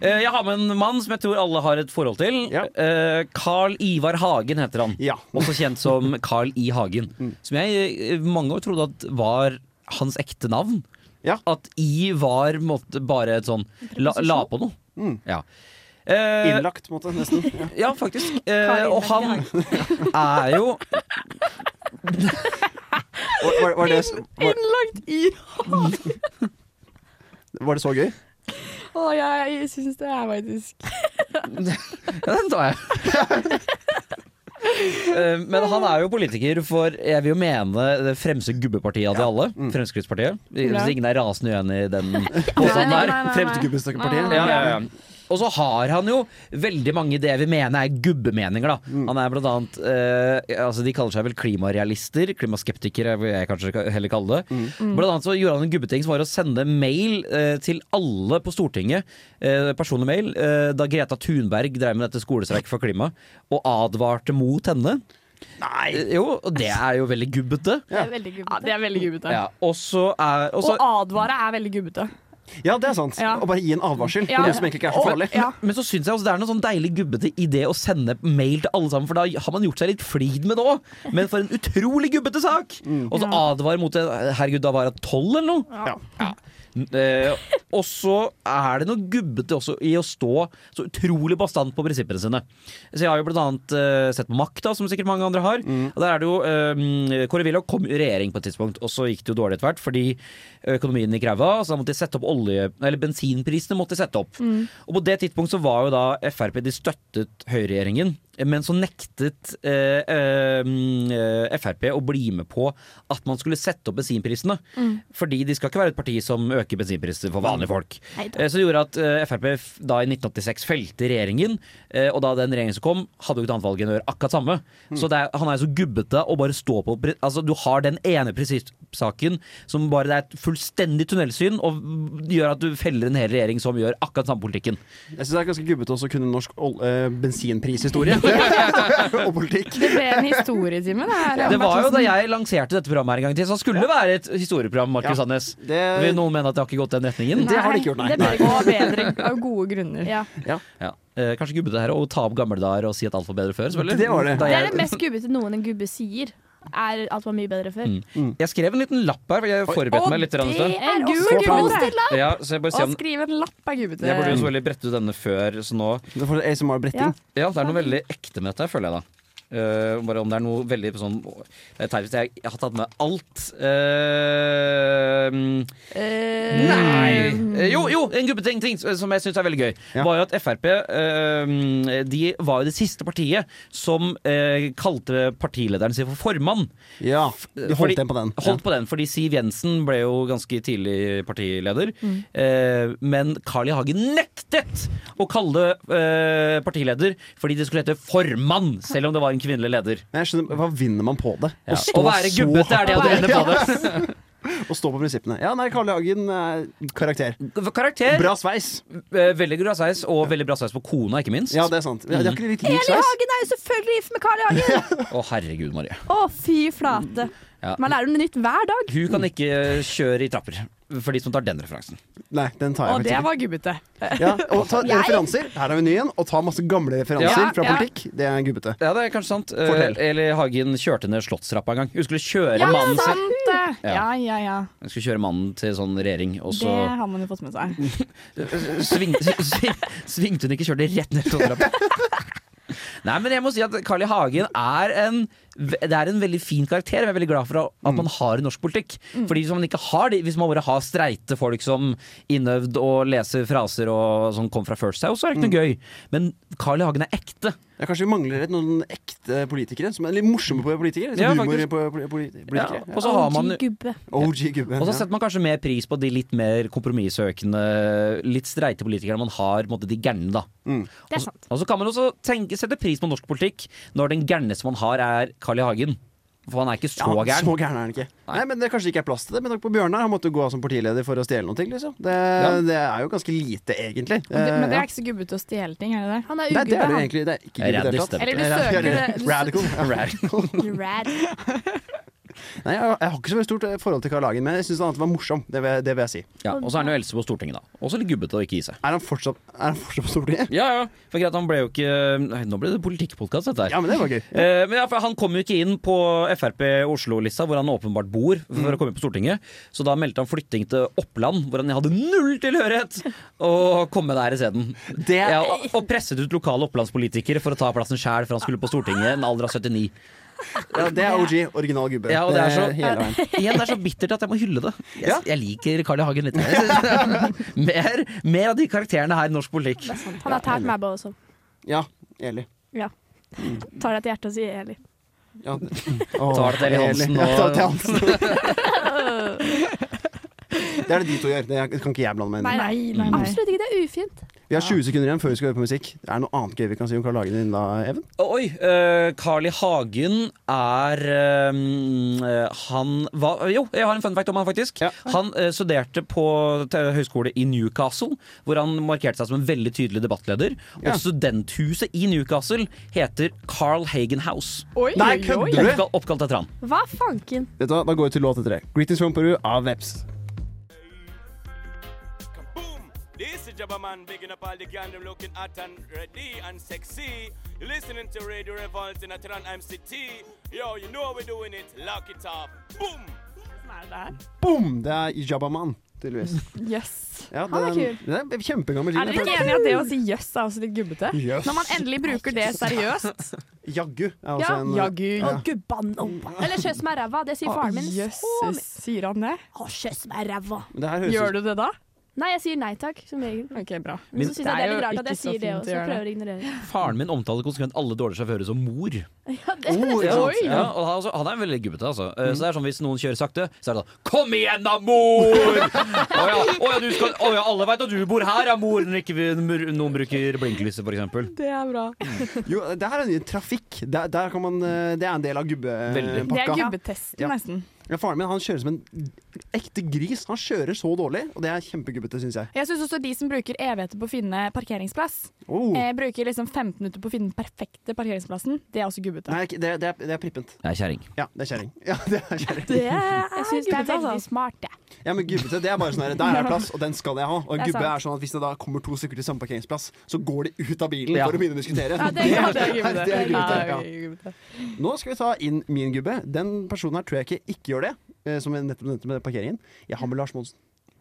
Speaker 1: Eh, Jeg har med en mann som jeg tror alle har et forhold til.
Speaker 2: Ja.
Speaker 1: Eh, Carl Ivar Hagen heter han.
Speaker 2: Ja.
Speaker 1: Også kjent som Carl I. Hagen.
Speaker 2: Mm.
Speaker 1: Som jeg eh, mange år trodde at var hans ekte navn.
Speaker 2: Ja.
Speaker 1: At I var måtte, bare et sånn la, la på noe. Ja. Eh,
Speaker 2: Mm. Innlagt, på en måte. Nesten. Ja.
Speaker 1: ja, faktisk. Eh,
Speaker 3: Carl I.
Speaker 1: og han er jo
Speaker 2: Var, var, var, det, var,
Speaker 4: Innlagt i
Speaker 2: var det så gøy?
Speaker 4: Å, jeg syns det er faktisk
Speaker 1: Ja, den tar jeg. Eh, Men han er jo politiker for jeg vil jo mene det fremste gubbepartiet av de alle. Fremskrittspartiet. Hvis ingen er rasende uenig i den påstanden
Speaker 4: nei,
Speaker 1: Sånn der.
Speaker 4: nei, nei.
Speaker 2: Fremste gubbestakkepartiet?
Speaker 1: Ja, ja, ja. Og så har han jo veldig mange det vi mener er gubbemeninger. Da. Han er blant annet eh, altså De kaller seg vel klimarealister. Klimaskeptikere vil jeg kanskje ka- heller kalle det.
Speaker 2: Mm.
Speaker 1: Blant annet så gjorde han en gubbeting som var å sende mail eh, til alle på Stortinget. Eh, personlig mail. Eh, da Greta Thunberg drev med dette skolestreiket for klima, og advarte mot henne.
Speaker 2: Nei!
Speaker 1: Eh, jo, og det er jo veldig gubbete.
Speaker 4: Det er veldig gubbete. Ja, det er veldig gubbete.
Speaker 1: Ja, og så er og
Speaker 4: Å
Speaker 1: så-
Speaker 4: advare er veldig gubbete.
Speaker 2: Ja, det er sant.
Speaker 4: Ja.
Speaker 2: Og bare gi en advarsel
Speaker 4: Ja.
Speaker 2: på noe som egentlig ikke er så
Speaker 4: Og-
Speaker 2: farlig.
Speaker 4: Ja.
Speaker 1: Men så syns jeg også det er noe sånn deilig gubbete i det å sende mail til alle sammen, for da har man gjort seg litt flid med det òg. Men for en utrolig gubbete sak! Og så advare mot det. Herregud, da var jeg tolv eller noe.
Speaker 2: Ja.
Speaker 1: N- Eh, og så er det noe gubbete også i å stå så utrolig bastant på prinsippene sine. Så jeg har jo blant annet eh, sett på Makta, som sikkert mange andre
Speaker 2: Mm.
Speaker 1: har. Og der er det jo eh, Kåre Willoch kom i regjering på et tidspunkt, og så gikk det jo dårlig etter hvert fordi økonomien gikk ræva, så da måtte de sette opp olje... Eller bensinprisene måtte de sette opp. Og på det tidspunkt så var jo da Frp De støttet høyreregjeringen, men så nektet eh, eh, eh, Frp å bli med på at man skulle sette opp bensinprisene. Fordi de skal ikke være et parti som øker bensinpriser for vanlige folk. Eh, Så det gjorde at eh, Frp f- da i 1986 felte regjeringen, eh, og da den regjeringen som kom, hadde jo ikke et annet valg enn å gjøre akkurat samme. Så det er, han er jo så gubbete å bare stå på pri- Altså, du har den ene prinsippsaken som bare det er et fullstendig tunnelsyn, og gjør at du feller en hel regjering som gjør akkurat samme politikken.
Speaker 2: Jeg syns det er ganske gubbete også å kunne norsk ol- eh, bensinprishistorie. og politikk.
Speaker 4: Det ble en historietime, det her.
Speaker 1: Det var jo da jeg lanserte dette programmet her en gang til, så det skulle være et historieprogram, Markus
Speaker 2: Ja.
Speaker 1: Sandnes.
Speaker 2: Det,
Speaker 1: Vil noen mene at det har ikke gått den retningen?
Speaker 2: Det har de ikke gjort, nei.
Speaker 4: Det bør ikke være bedre av gode grunner.
Speaker 3: Ja.
Speaker 1: Ja. Eh, kanskje gubbete her og ta opp gamle dager og si at alt var bedre før. selvfølgelig.
Speaker 2: Det var det.
Speaker 1: Da
Speaker 3: Det er
Speaker 1: jeg,
Speaker 3: det mest gubbete noen en gubbe sier. Er alt var mye bedre før.
Speaker 1: Mm. jeg skrev en liten lapp her, for jeg forberedte meg litt. grann i sted.
Speaker 3: En
Speaker 4: er
Speaker 3: gul
Speaker 4: også
Speaker 3: gubbete!
Speaker 4: gubbete.
Speaker 1: Ja, så jeg bare ser
Speaker 4: Å
Speaker 1: om
Speaker 4: skrive en lapp er gubbete.
Speaker 1: jeg burde jo selvfølgelig brette ut denne før, så nå
Speaker 2: Det er fortsatt ASMR-bretting.
Speaker 1: Ja, det er noe veldig ekte med dette, føler jeg da. Eh, bare om det er noe veldig sånn Det er teit hvis jeg, jeg har tatt med alt. Eh, mm, nei Eh, Jo, jo, en gruppeting ting, som jeg syns er veldig gøy,
Speaker 2: Ja.
Speaker 1: var jo at Frp eh, De var jo det siste partiet som eh, kalte partilederen sin for formann.
Speaker 2: Ja, de holdt
Speaker 1: Fordi-
Speaker 2: igjen på den.
Speaker 1: Holdt på den, fordi Siv Jensen ble jo ganske tidlig partileder. Eh, men Carl I. Hagen nektet å kalle det eh, partileder fordi det skulle hete formann, selv om det var en kvinnelig leder.
Speaker 2: Men jeg skjønner, Hva vinner man på det?
Speaker 1: Ja. Å være gubbete er det du vinner på det.
Speaker 2: Å stå på prinsippene. Ja, nei, Karl I. Hagen er karakter.
Speaker 1: Karakter.
Speaker 2: Bra sveis.
Speaker 1: Eh, Veldig bra sveis, og veldig bra sveis på kona, ikke minst.
Speaker 2: Ja, det er sant. Ja, De har ikke litt lik
Speaker 3: Eli
Speaker 2: sveis?
Speaker 3: Hagen er jo selvfølgelig gift med Carl I. Hagen!
Speaker 1: Å, herregud, Marie.
Speaker 3: Å, fy flate.
Speaker 1: Ja.
Speaker 3: Man lærer noe nytt hver dag.
Speaker 1: Hun kan ikke eh, kjøre i trapper, for de som tar den referansen.
Speaker 2: Nei, den tar jeg
Speaker 4: Og det
Speaker 2: faktisk ikke.
Speaker 4: var gubbete.
Speaker 2: Ja, og ta referanser. Her har vi ny en. Og ta masse gamle referanser
Speaker 1: Ja,
Speaker 2: fra
Speaker 4: ja.
Speaker 2: politikk. Det er gubbete.
Speaker 1: Ja, det er kanskje sant. Eh,
Speaker 2: Fortell.
Speaker 1: Eli Hagen kjørte ned Slottstrappa en gang. Hun skulle kjøre
Speaker 4: Ja,
Speaker 1: mannen sin
Speaker 4: sant det! Ja, ja, ja.
Speaker 1: Hun skulle kjøre mannen til sånn regjering, og
Speaker 4: Det
Speaker 1: så
Speaker 4: har man jo fått med seg.
Speaker 1: Sving, sving, svingte hun ikke, kjørte rett ned togtrappa. Nei, men jeg må si at Carl I. Hagen er en, det er en veldig fin karakter. Jeg er veldig glad for at man har i norsk politikk. Fordi Hvis man ikke har det, hvis man bare har streite folk som innøvd og leser fraser og som kom fra First House, så er det ikke noe gøy. Men Carl I. Hagen er ekte.
Speaker 2: Ja, kanskje vi mangler et, noen ekte politikere? Som er litt morsomme på politikere? Litt
Speaker 1: Ja,
Speaker 2: sånn humor
Speaker 1: faktisk.
Speaker 2: på poli- poli- politikere.
Speaker 1: Og så har man
Speaker 3: OG gubbe.
Speaker 2: OG gubbe.
Speaker 1: og så
Speaker 2: ja.
Speaker 1: setter man kanskje mer pris på de litt mer kompromissøkende, litt streite politikerne man har, på en måte de gærne, da.
Speaker 4: Det
Speaker 2: Mm.
Speaker 1: Og
Speaker 4: er
Speaker 1: så-
Speaker 4: sant.
Speaker 1: Og så kan man også tenke, sette pris på norsk politikk når den gærneste man har, er Carl I. Hagen. For han er ikke så
Speaker 2: Ja,
Speaker 1: gæren.
Speaker 2: så gæren er han ikke. Nei, men det kanskje ikke er plass til det. Men takk på Bjørnar, han måtte gå av som partileder for å stjele noe. Liksom. Det, det er jo ganske lite, egentlig.
Speaker 4: Og det- Men
Speaker 2: Eh, ja.
Speaker 4: det er ikke så gubbete å stjele ting, er det det?
Speaker 3: Han er
Speaker 2: Nei, det
Speaker 3: ugubbe,
Speaker 2: er det
Speaker 3: han.
Speaker 2: egentlig. Det er ikke
Speaker 1: Raddis,
Speaker 2: gubbe i det hele tatt.
Speaker 1: det.
Speaker 4: Eller du
Speaker 2: Ja, ja,
Speaker 4: søker
Speaker 2: ja.
Speaker 4: det- du-
Speaker 2: Radical. Ja.
Speaker 3: Rad.
Speaker 2: Nei, jeg, jeg har ikke så veldig stort eh, forhold til Karl Hagen, men jeg syns han var morsom. Det vil, det vil jeg si.
Speaker 1: Ja, og så er han jo eldste på Stortinget, da. Også litt gubbete og ikke gi seg.
Speaker 2: Er han fortsatt, er han fortsatt på Stortinget?
Speaker 1: Ja, ja. For greit, han ble jo ikke Nei, Nå ble det politikkpodkast, dette her.
Speaker 2: Ja, men det var gøy.
Speaker 1: Eh, Men ja, for han kom jo ikke inn på Frp Oslo-lista, hvor han åpenbart bor, for
Speaker 2: Mm.
Speaker 1: å komme inn på Stortinget. Så da meldte han flytting til Oppland, hvor han hadde null tilhørighet, og kom med der isteden.
Speaker 2: Det
Speaker 1: Ja, og- og presset ut lokale opplandspolitikere for å ta plassen sjæl, for han skulle på Stortinget, en alder av 79.
Speaker 2: Ja, det er OG. Original gubbe.
Speaker 1: Ja, og det er så-
Speaker 2: hele veien.
Speaker 1: Igjen, det er så bittert at jeg må hylle det. Jeg,
Speaker 2: Ja.
Speaker 1: jeg liker Carl I. Hagen litt mer. mer. Mer av de karakterene her i norsk politikk.
Speaker 3: Han har tært meg på også.
Speaker 2: Ja, Eli.
Speaker 3: Tar deg til hjertet og sier Eli.
Speaker 2: Ja.
Speaker 1: Tar det til Eli Hansen
Speaker 2: Ja,
Speaker 1: og-
Speaker 2: tar det til Hansen. Det er det de to gjør. Det kan ikke jeg blande meg inn i.
Speaker 4: Nei, nei, nei.
Speaker 3: Absolutt ikke, det er ufint.
Speaker 2: Vi har 20 sekunder igjen før vi skal høre på musikk. Er det noe annet gøy vi kan si om Karl Hagen din da, Even?
Speaker 1: Oi, eh, Carl I. Hagen er eh, mm, eh, Han var Jo, jeg har en fun fact om han, faktisk.
Speaker 2: Ja.
Speaker 1: Han eh, studerte på te- høyskole i Newcastle, hvor han markerte seg som en veldig tydelig debattleder.
Speaker 2: Ja.
Speaker 1: Og studenthuset i Newcastle heter Carl Hagen House.
Speaker 4: Oi,
Speaker 2: Nei,
Speaker 4: oi,
Speaker 2: kødder
Speaker 4: oi.
Speaker 2: du?
Speaker 1: Oppkal- Oppkalt etter han.
Speaker 3: Hva fanken?
Speaker 2: Vet du hva, Da går vi til låt etter det. 'Greetings from Peru' av Veps.
Speaker 6: Boom! This is Jabba Man bigging up all the gang. I'm looking hot and ready and sexy. You're listening to Radio Revolt in Atran MCT. Yo, you know how we're doing it. Lock it up. Boom!
Speaker 2: Boom! Det er Jabbaman, tydeligvis.
Speaker 4: Yes.
Speaker 2: Ja,
Speaker 3: Han er
Speaker 2: den- Det er en kjempegammel
Speaker 4: Er dere
Speaker 2: jingle.
Speaker 4: ikke enig i at det å si jøss er også litt gubbete?
Speaker 2: Jøss.
Speaker 4: Når man endelig bruker det seriøst.
Speaker 2: Jaggu er også
Speaker 4: Ja,
Speaker 2: Altså en eh,
Speaker 4: jaggu.
Speaker 3: Å, gubban. å. Eller kjøss meg ræva. Det sier faren min så
Speaker 4: Jøsses,
Speaker 3: mye.
Speaker 4: sier han det?
Speaker 3: Å, kjøss meg ræva.
Speaker 2: Men Det her høres
Speaker 4: Gjør
Speaker 2: ut
Speaker 4: du det da?
Speaker 3: Nei, jeg sier nei takk, som regel.
Speaker 4: Ok, bra.
Speaker 3: Men så syns
Speaker 4: Det
Speaker 3: jeg
Speaker 4: er
Speaker 3: det er
Speaker 4: jo
Speaker 3: litt rart at
Speaker 4: ikke
Speaker 3: jeg
Speaker 4: så
Speaker 3: sier det
Speaker 4: fint å
Speaker 3: også.
Speaker 4: gjøre
Speaker 3: Jeg
Speaker 4: det.
Speaker 3: prøver å ignorere.
Speaker 1: Faren min omtaler konsekvent alle dårlige sjåfører som mor.
Speaker 3: Ja, det,
Speaker 2: Oh, ja.
Speaker 4: Oi.
Speaker 1: Ja, og han, altså, han er veldig gubbete, altså. Eh, Så det er sånn Hvis noen kjører sakte, så er det sånn Kom igjen da, mor! Å ja, å ja, du skal, å ja alle veit at du bor her, ja, mor, når ikke vi, mur- noen bruker blinklyset, f.eks.
Speaker 4: Det er bra.
Speaker 2: Jo, det her er en ny trafikk. Der, der kan man, eh, det er en del av
Speaker 1: Veldig.
Speaker 4: Det er
Speaker 2: gubbepakka.
Speaker 4: gubbetesten,
Speaker 2: Ja.
Speaker 4: nesten.
Speaker 2: Ja, faren min han kjører som en ekte gris. Han kjører så dårlig, og det er kjempegubbete, syns jeg.
Speaker 4: Jeg syns også de som bruker evigheter på å finne parkeringsplass,
Speaker 2: Oh.
Speaker 4: eh, bruker liksom 15 minutter på å finne den perfekte parkeringsplassen, det er også gubbete.
Speaker 2: Nei, ikke- det, det, er, det er prippent.
Speaker 1: Jeg er kjerring.
Speaker 2: Ja, det er kjerring. Ja, det er kjerring.
Speaker 3: Det er
Speaker 4: Jeg synes det er altså- veldig
Speaker 3: smart, det.
Speaker 2: Ja, men gubbete, det er bare sånn her, der er plass, og den skal jeg ha. Og en
Speaker 4: Det er
Speaker 2: gubbe
Speaker 4: sant.
Speaker 2: er sånn at hvis det da kommer to stykker til samme parkeringsplass, så går de ut av bilen
Speaker 1: Ja.
Speaker 2: for å begynne å diskutere.
Speaker 4: Ja, det, ja, det er gubbete.
Speaker 2: Det er gubbete, ja.
Speaker 4: gubbete.
Speaker 2: Nå skal vi ta inn min gubbe. Den personen her tror jeg ikke ikke gjør det. eh, Som jeg nettopp nevnte med parkeringen. Jeg har med Lars Monsen.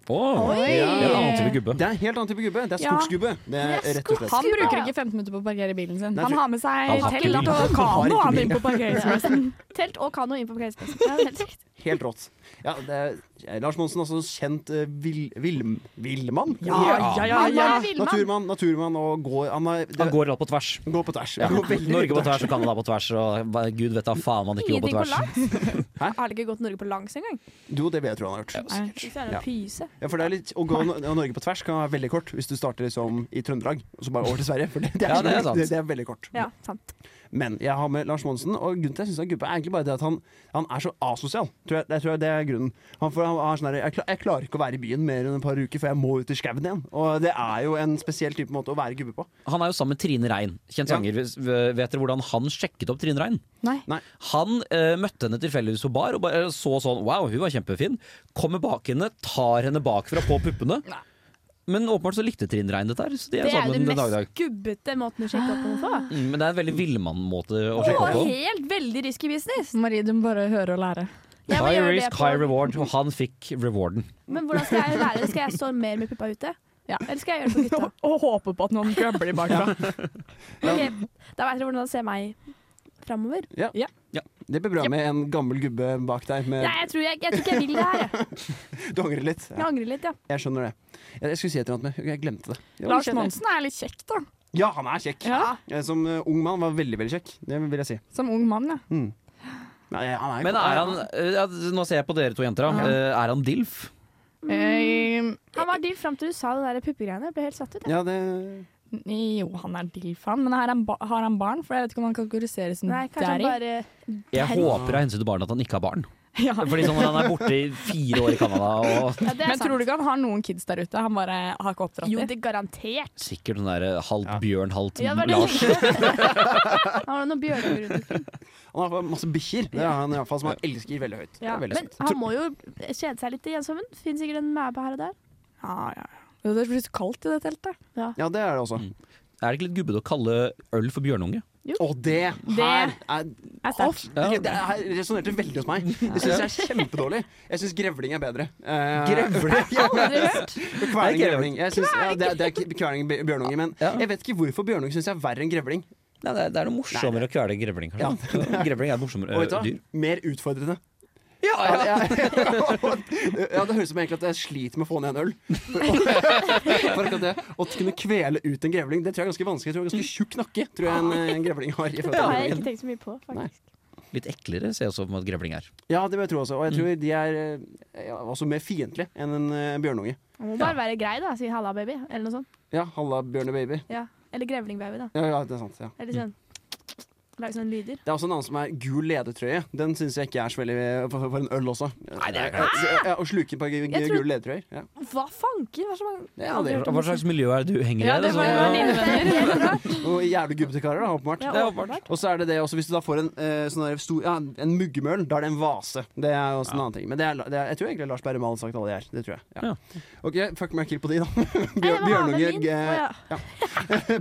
Speaker 1: Oh,
Speaker 4: Oi!
Speaker 1: det er en annen type gubbe.
Speaker 2: Det er en helt annen type gubbe. Det er
Speaker 4: Ja.
Speaker 2: skogsgubbe. Det er rett og slett.
Speaker 4: Han bruker ikke 15 minutter på å parkere bilen sin.
Speaker 2: Nei,
Speaker 4: Han
Speaker 2: for-
Speaker 4: har
Speaker 1: Han
Speaker 4: med seg
Speaker 1: har ikke
Speaker 4: telt
Speaker 1: bil.
Speaker 4: og
Speaker 2: Han
Speaker 4: kano
Speaker 2: har ikke
Speaker 4: han
Speaker 2: bil.
Speaker 4: inn på parkeringsplassen.
Speaker 3: Telt og kano inn på parkeringsplassen. Ja, det er helt riktig.
Speaker 2: Helt rått. Ja, det er eh, Lars Monsen, altså kjent eh, vill- vill- villmann.
Speaker 4: ja,
Speaker 3: Han
Speaker 4: ja.
Speaker 3: var en villmann.
Speaker 2: Naturmann, naturmann og går Han, er, det,
Speaker 1: Han går alt på tvers.
Speaker 2: går på tvers.
Speaker 1: Ja.
Speaker 2: Går veldig
Speaker 1: Norge på
Speaker 2: på
Speaker 1: tvers og Canada på tvers og hva- gud vet da faen man ikke går på
Speaker 3: Ingenting på
Speaker 1: tvers.
Speaker 3: langs. Har han ikke gått Norge på langs engang?
Speaker 2: Jo, det vil jeg tro han har gjort.
Speaker 4: Nei.
Speaker 3: Hvis det er en
Speaker 2: Ja.
Speaker 3: pyse.
Speaker 2: Ja, for det er litt, Å gå no- Norge på tvers kan være veldig kort hvis du starter liksom i Trøndelag og så bare over til Sverige. For det, det, er,
Speaker 1: Ja, det er sant.
Speaker 2: det, det er veldig kort.
Speaker 3: Ja, sant.
Speaker 2: Men jeg har med Lars Monsen, og grunnen til at jeg syns han er gubbe, er egentlig bare det at han, han er så asosial. Tror jeg, jeg tror det er grunnen. Han, får- han, er sånn der, jeg, kla- jeg klarer ikke å være i byen mer enn et par uker, for jeg må ut i skauen igjen. Og det er jo en spesiell type måte å være gubbe på.
Speaker 1: Han er jo sammen med Trine Rein, kjent
Speaker 2: Ja.
Speaker 1: sanger. Vis- Vet dere hvordan han sjekket opp Trine Rein?
Speaker 4: Nei.
Speaker 1: Han eh, møtte henne tilfeldigvis på bar og bare så sånn Wow, hun var kjempefin. Kommer bak henne, tar henne bakfra på puppene. Men åpenbart så likte Trine Rein dette her, så de er jo
Speaker 3: Det er jo
Speaker 1: sammen sånn
Speaker 3: den
Speaker 1: den dag i dag.
Speaker 3: mest gubbete måten å sjekke opp noe på.
Speaker 1: Mm, Men det er en veldig villmann-måte å
Speaker 3: Og
Speaker 1: sjekke opp på.
Speaker 3: helt veldig risky business.
Speaker 4: Marie, du må bare høre og lære.
Speaker 3: Jeg må
Speaker 1: High
Speaker 3: gjøre det
Speaker 1: risk,
Speaker 3: på-
Speaker 1: high reward. Og han fikk rewarden.
Speaker 3: Men hvordan skal jeg være det? Skal jeg stå mer med puppa ute?
Speaker 4: Ja.
Speaker 3: Eller skal jeg gjøre det på gutta?
Speaker 4: Og håpe på at noen grabber de bakfra.
Speaker 3: Ok, Da vet dere hvordan det ser meg framover.
Speaker 2: Det blir bra med en gammel gubbe bak deg. Med,
Speaker 3: Nei, jeg tror, jeg, jeg tror ikke jeg vil det her. jeg.
Speaker 2: du angrer litt.
Speaker 3: Jeg
Speaker 2: Ja,
Speaker 3: angrer litt, ja.
Speaker 2: jeg skjønner det. Jeg, jeg skulle si et eller annet, men jeg glemte det. Det var
Speaker 4: Lars
Speaker 2: litt kjedelig.
Speaker 4: Monsen er litt kjekk, da.
Speaker 2: Ja, han er kjekk.
Speaker 4: Ja.
Speaker 2: Jeg Som eh, ung mann var veldig, veldig kjekk. Det vil jeg si.
Speaker 4: Som ung mann, ja.
Speaker 2: Nei, han er,
Speaker 1: Men er han eh, ja, Nå ser jeg på dere to jenter. da. Eh, Er han dilf?
Speaker 4: Eh,
Speaker 3: Han var dill fram til du sa det der puppegreiene. Jeg ble helt satt ut. jeg.
Speaker 2: Ja, det
Speaker 4: jo, han er dilf, han. Men har han, ba har han barn? For jeg vet ikke om han kategoriseres som
Speaker 3: Nei, kanskje han
Speaker 4: daddy.
Speaker 3: bare
Speaker 1: Jeg
Speaker 3: Herregud.
Speaker 1: håper av hensyn til barnet at han ikke har barn.
Speaker 4: Ja.
Speaker 1: Fordi sånn han er borte i fire år i Canada og
Speaker 3: ja, det er
Speaker 4: Men tror du
Speaker 3: sant.
Speaker 4: ikke han har noen kids der ute? Han bare har ikke oppdratt
Speaker 3: Jo,
Speaker 4: dem?
Speaker 3: det er garantert.
Speaker 1: sikkert sånn der eh, halvt bjørn, halvt
Speaker 3: Ja, det var det jeg
Speaker 1: Lars.
Speaker 3: tenkte. Han har noen bjørner rundt omkring.
Speaker 2: Han har masse bikkjer. Det er han i hvert fall som han elsker veldig høyt. Det
Speaker 3: Ja.
Speaker 2: er veldig
Speaker 3: Men
Speaker 2: søtt.
Speaker 3: han må jo kjede seg litt i ensommen. Fins sikkert en mæbe her og der.
Speaker 4: Ja, ja. ja. Det blir så kaldt i det teltet.
Speaker 2: Ja, det er det også.
Speaker 1: Er det ikke litt gubbete å kalle øl for bjørnunge?
Speaker 2: Og det her er
Speaker 4: Er sterkt.
Speaker 1: Ja.
Speaker 2: Det her resonnerte veldig hos meg. Det syns jeg er kjempedårlig. Jeg syns grevling er bedre. Eh,
Speaker 1: Grevling?
Speaker 2: ja,
Speaker 3: Aldri hørt.
Speaker 2: Kverning grevling. Jeg synes, ja, det, er- det er kverning bj- bjørnunge, men
Speaker 1: Ja.
Speaker 2: jeg vet ikke hvorfor bjørnunge syns jeg er verre enn grevling.
Speaker 1: Nei, det, er, det er noe morsommere å kvele grevling,
Speaker 2: Ja,
Speaker 1: kanskje. grevling er et morsommere
Speaker 2: Og vet du
Speaker 1: eh,
Speaker 2: hva?
Speaker 1: dyr.
Speaker 2: Mer utfordrende.
Speaker 1: Ja,
Speaker 2: Ja,
Speaker 1: ja.
Speaker 2: det- ja, det høres ut som egentlig at jeg sliter med å få ned en øl. For, for akkurat det Å kunne kvele ut en grevling, det tror jeg er ganske vanskelig. Jeg tror det er ganske tjukk nakke tror jeg en, eh, en grevling har. I forhold til
Speaker 3: Det har jeg
Speaker 2: bjørnungen.
Speaker 3: ikke tenkt så mye på, faktisk.
Speaker 1: Litt eklere ser jeg også for meg at grevling er.
Speaker 2: Ja, det vil jeg tro også. Og jeg tror de er eh, ja, også mer fiendtlige enn en eh, bjørnunge.
Speaker 3: Man må bare være grei, da. Si 'halla, baby', eller noe sånt.
Speaker 2: Ja, halla bjørnebaby.
Speaker 3: Ja. Eller grevlingbaby, da.
Speaker 2: Ja, ja, det er sant. Ja.
Speaker 3: Eller sånn Lage sånne lyder.
Speaker 2: Det er også en annen som er gul ledetrøye. Den syns jeg ikke er så veldig eh, for, for en øl også. Eh,
Speaker 1: Nei, det er
Speaker 2: ja, Å sluke et par gu-
Speaker 3: Jeg tror-
Speaker 2: gule ledetrøyer. Ja.
Speaker 3: Hva fanken? Hva så mange
Speaker 2: Ja, det
Speaker 1: Hva slags miljø er det du henger i?
Speaker 4: Ja,
Speaker 1: er
Speaker 4: det var
Speaker 1: sånn-
Speaker 4: jo mine venner.
Speaker 2: Og jævlig gubbete karer, da, åpenbart.
Speaker 3: Ja,
Speaker 1: Det er
Speaker 3: åpenbart.
Speaker 2: Og så er det det også, hvis du da får en eh, sånn der stor ja, En muggemøl, da er det en vase. Det er jo også en annen ting. Men det er, det er, jeg tror egentlig Lars Berre Malen har sagt alle de her. Det tror jeg. Ja. OK, fuck meg kill på de, da. Bjør, bjørnunge,
Speaker 3: Bjørnungen
Speaker 2: ge-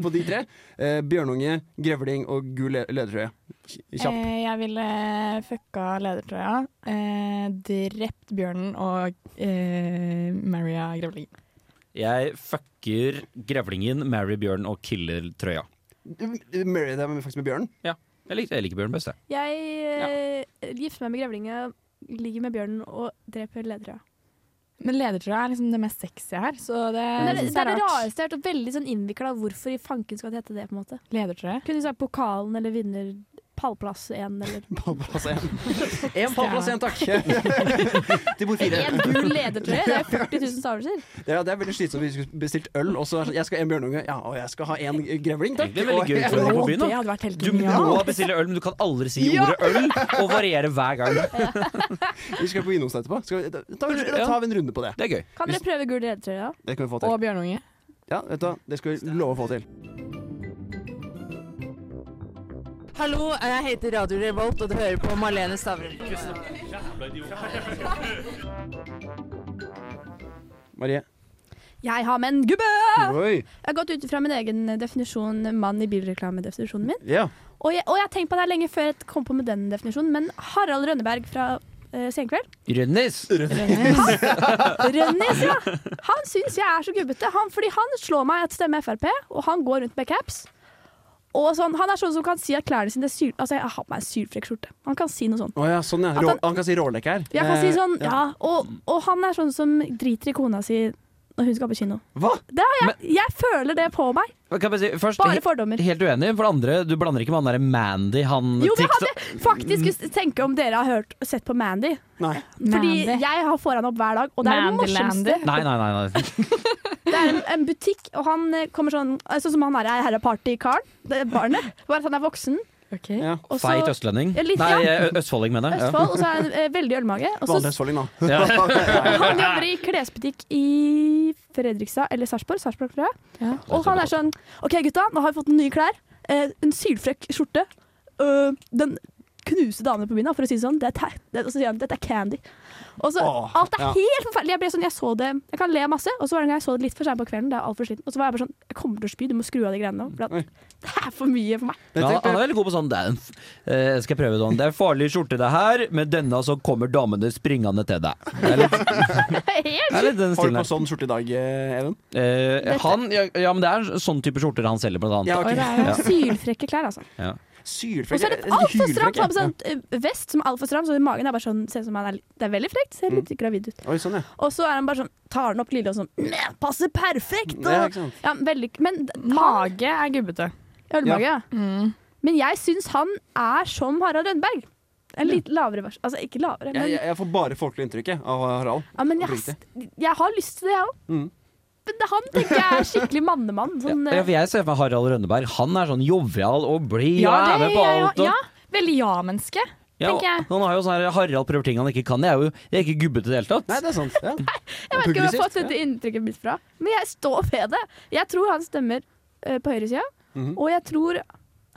Speaker 2: på de tre. Eh, bjørnunge, grevling og gul le ledertrøye. Kj- Kjapp.
Speaker 4: Eh, jeg ville fucka ledertrøya, eh, drept bjørnen og eh, Maria Grevling.
Speaker 1: Jeg fucker grevlingen, Mary Bjørn og killer trøya.
Speaker 2: Marry deg faktisk med bjørnen.
Speaker 1: Jeg liker, jeg liker bjørn best, jeg.
Speaker 3: Jeg eh, gifter meg med grevlinga, ligger med bjørnen og dreper ledertrøya.
Speaker 4: Men ledertrøya er liksom det mest sexy her, så det,
Speaker 3: Det er Eh, det,
Speaker 4: synes
Speaker 3: det,
Speaker 4: jeg
Speaker 3: er det
Speaker 4: rart.
Speaker 3: rareste jeg har hørt, og veldig sånn innvikla hvorfor i fanken skal det hete det. på en måte
Speaker 4: Ledertrøye.
Speaker 3: Kunne du sagt pokalen eller vinner... pallplass én, eller
Speaker 2: Pallplass én.
Speaker 1: En pallplass, en takk! Til bord fire.
Speaker 3: En gul ledertrøye? Det er 40 000 stavelser.
Speaker 2: Ja, det er veldig slitsomt hvis vi skulle bestilt øl, og så er det sånn, jeg skal ha en bjørnunge, ja, og jeg skal ha en grevling, takk.
Speaker 1: Det er veldig gøy
Speaker 2: Og-
Speaker 1: utfordring på
Speaker 4: Å,
Speaker 1: byen.
Speaker 4: det
Speaker 1: da
Speaker 4: hadde vært helt
Speaker 1: Du
Speaker 4: genialt.
Speaker 1: må bestille øl, men du kan aldri si
Speaker 2: Ja.
Speaker 1: ordet øl, og variere hver gang.
Speaker 2: Vi skal på Vinmonopolet etterpå. Skal vi, da, da, da tar vi en runde på det.
Speaker 1: Det er gøy.
Speaker 3: Kan dere prøve gul ledertrøye? da?
Speaker 2: Det kan vi få til.
Speaker 4: Og bjørnunge.
Speaker 2: Ja, vet du, hva, det skal vi love å få til.
Speaker 7: Hallo, jeg heter Radio Revolt, og du hører på Marlene Stavrum.
Speaker 2: Marie.
Speaker 3: Jeg har med en gubbe!
Speaker 2: Oi.
Speaker 3: Jeg har gått ut ifra min egen eh, definisjon, mann i bilreklamedefinisjonen min.
Speaker 2: Ja.
Speaker 3: Og jeg, og jeg har tenkt på det her lenge før jeg kom på med den definisjonen, men Harald Rønneberg fra eh, Senkveld
Speaker 1: Rønnis!
Speaker 3: Rønnis, ja! Han syns jeg er så gubbete, han, fordi han slår meg at stemmer Frp, og han går rundt med caps. Og sånn, han er sånn som kan si at klærne sine er syl... Altså, jeg har på meg en sylfrekk skjorte. Han kan si noe sånt.
Speaker 2: Å ja, sånn ja. Rå,
Speaker 3: At han-
Speaker 2: han, kan si rålek her.
Speaker 3: Jeg kan si
Speaker 2: Eh,
Speaker 3: sånn, ja, og, og han er sånn som driter i kona si når hun skal på kino.
Speaker 2: Hva?
Speaker 3: Det har jeg, jeg føler det på meg.
Speaker 1: Kan jeg bare si, først,
Speaker 3: Bare
Speaker 2: Eh,
Speaker 1: he-
Speaker 3: fordommer.
Speaker 1: helt uenig. For det andre, du blander ikke med han derre Mandy, han
Speaker 3: Jo, men jeg
Speaker 1: TikTok-
Speaker 2: eh,
Speaker 3: hadde faktisk tenke om dere har hørt, sett på Mandy.
Speaker 2: Nei.
Speaker 3: Fordi
Speaker 4: Mandy.
Speaker 3: jeg har foran opp hver dag, og det er det morsomste.
Speaker 4: Mandylander.
Speaker 1: Nei, nei, nei. nei.
Speaker 3: Det er en, en butikk, og han eh, kommer sånn eh, Sånn som han her er herreparty-karen. Det er barnet. Bare at han er voksen.
Speaker 4: Ok.
Speaker 2: Ja.
Speaker 3: Og så
Speaker 1: Feit østlending.
Speaker 3: Ja, litt,
Speaker 1: Nei,
Speaker 3: ja.
Speaker 1: ø- østfolding, mener jeg.
Speaker 3: Østfold, og så er han eh, veldig ølmage. Og så
Speaker 2: Vanlig østfolding, da.
Speaker 1: Ja. Ja.
Speaker 3: han jobber i klesbutikk i Fredrikstad, eller Sarpsborg, Sarpsborg, tror jeg.
Speaker 4: Ja.
Speaker 3: Og han er sånn OK, gutta, nå har vi fått nye klær. Eh, en sylfrekk skjorte. Øh, den knuser damene på byen, da, for å si det sånn. Det er te- det, og så sier han dette er candy. Og så,
Speaker 2: Åh,
Speaker 3: Alt er
Speaker 2: ja.
Speaker 3: helt forferdelig. Jeg ble sånn, jeg så det Jeg kan le masse, og så var det en gang jeg så det litt for seint på kvelden. Det er alt for sent. Og så var jeg bare sånn Jeg kommer til å spy, du må skru av de greiene nå. For
Speaker 2: Oi.
Speaker 3: at, det er for mye for meg.
Speaker 1: Men han, han er veldig god på sånn det er en f- eh, Skal jeg prøve sånn Det er en farlig skjorte det her Med denne så kommer damene springende til deg Det er litt,
Speaker 3: Helt
Speaker 1: det er litt den
Speaker 2: Har du
Speaker 1: stilen
Speaker 2: på
Speaker 1: her
Speaker 2: sånn skjorte i dag, eh, Even?
Speaker 1: Eh, Han, ja, ja, men det er sånn type skjorter han selger blant annet
Speaker 2: Ja,
Speaker 4: Oi,
Speaker 2: ok.
Speaker 4: det er jo
Speaker 3: Sylfrekke klær, altså. Og
Speaker 2: Sylfrekk.
Speaker 3: så er det
Speaker 2: eh,
Speaker 3: altfor
Speaker 2: hylfrekk,
Speaker 3: stramt. Så har
Speaker 2: ja.
Speaker 3: han på sånn eh, vest som er altfor stram, så magen er bare sånn Ser ut som han er litt Det er veldig frekt. Ser litt gravid ut.
Speaker 2: Ja. Oi, sånn, ja.
Speaker 3: Og så er han bare sånn Tar den opp lille og sånn «Nei, Passer perfekt!
Speaker 2: Det er
Speaker 3: Og,
Speaker 2: ikke sant.
Speaker 3: ja, veldig Men han-
Speaker 4: Mage er gubbete.
Speaker 3: Ølmage, ja.
Speaker 4: Mm.
Speaker 3: Men jeg syns han er som Harald Rønneberg. En litt lavere vers. Altså ikke lavere, men
Speaker 2: Jeg, jeg, jeg får bare folkelig inntrykk jeg, av Harald.
Speaker 3: Ja, men jeg,
Speaker 2: Oppriktig.
Speaker 3: jeg har lyst til det, jeg òg.
Speaker 2: Mm.
Speaker 3: Men det- han tenker jeg er skikkelig mannemann. Sånn,
Speaker 1: Ja, for jeg ser for meg Harald Rønneberg Han er sånn jovial og blid
Speaker 4: Ja,
Speaker 1: og er
Speaker 4: det
Speaker 1: med
Speaker 4: er
Speaker 1: på
Speaker 4: jeg
Speaker 1: alt
Speaker 4: òg.
Speaker 1: og,
Speaker 4: Ja. Veldig ja-menneske.
Speaker 1: Ja, og
Speaker 4: tenker jeg.
Speaker 1: Han har jo sånn her Harald prøver ting han ikke kan Jeg er jo jeg er ikke gubbet i det hele
Speaker 2: Nei,
Speaker 1: tatt
Speaker 2: det er sant. Ja.
Speaker 3: jeg vet ikke hvor jeg har fått
Speaker 2: Progressivt,
Speaker 3: dette inntrykket mitt fra, men jeg står ved det. Jeg tror han stemmer eh, på høyresida,
Speaker 2: Mhm.
Speaker 3: og jeg tror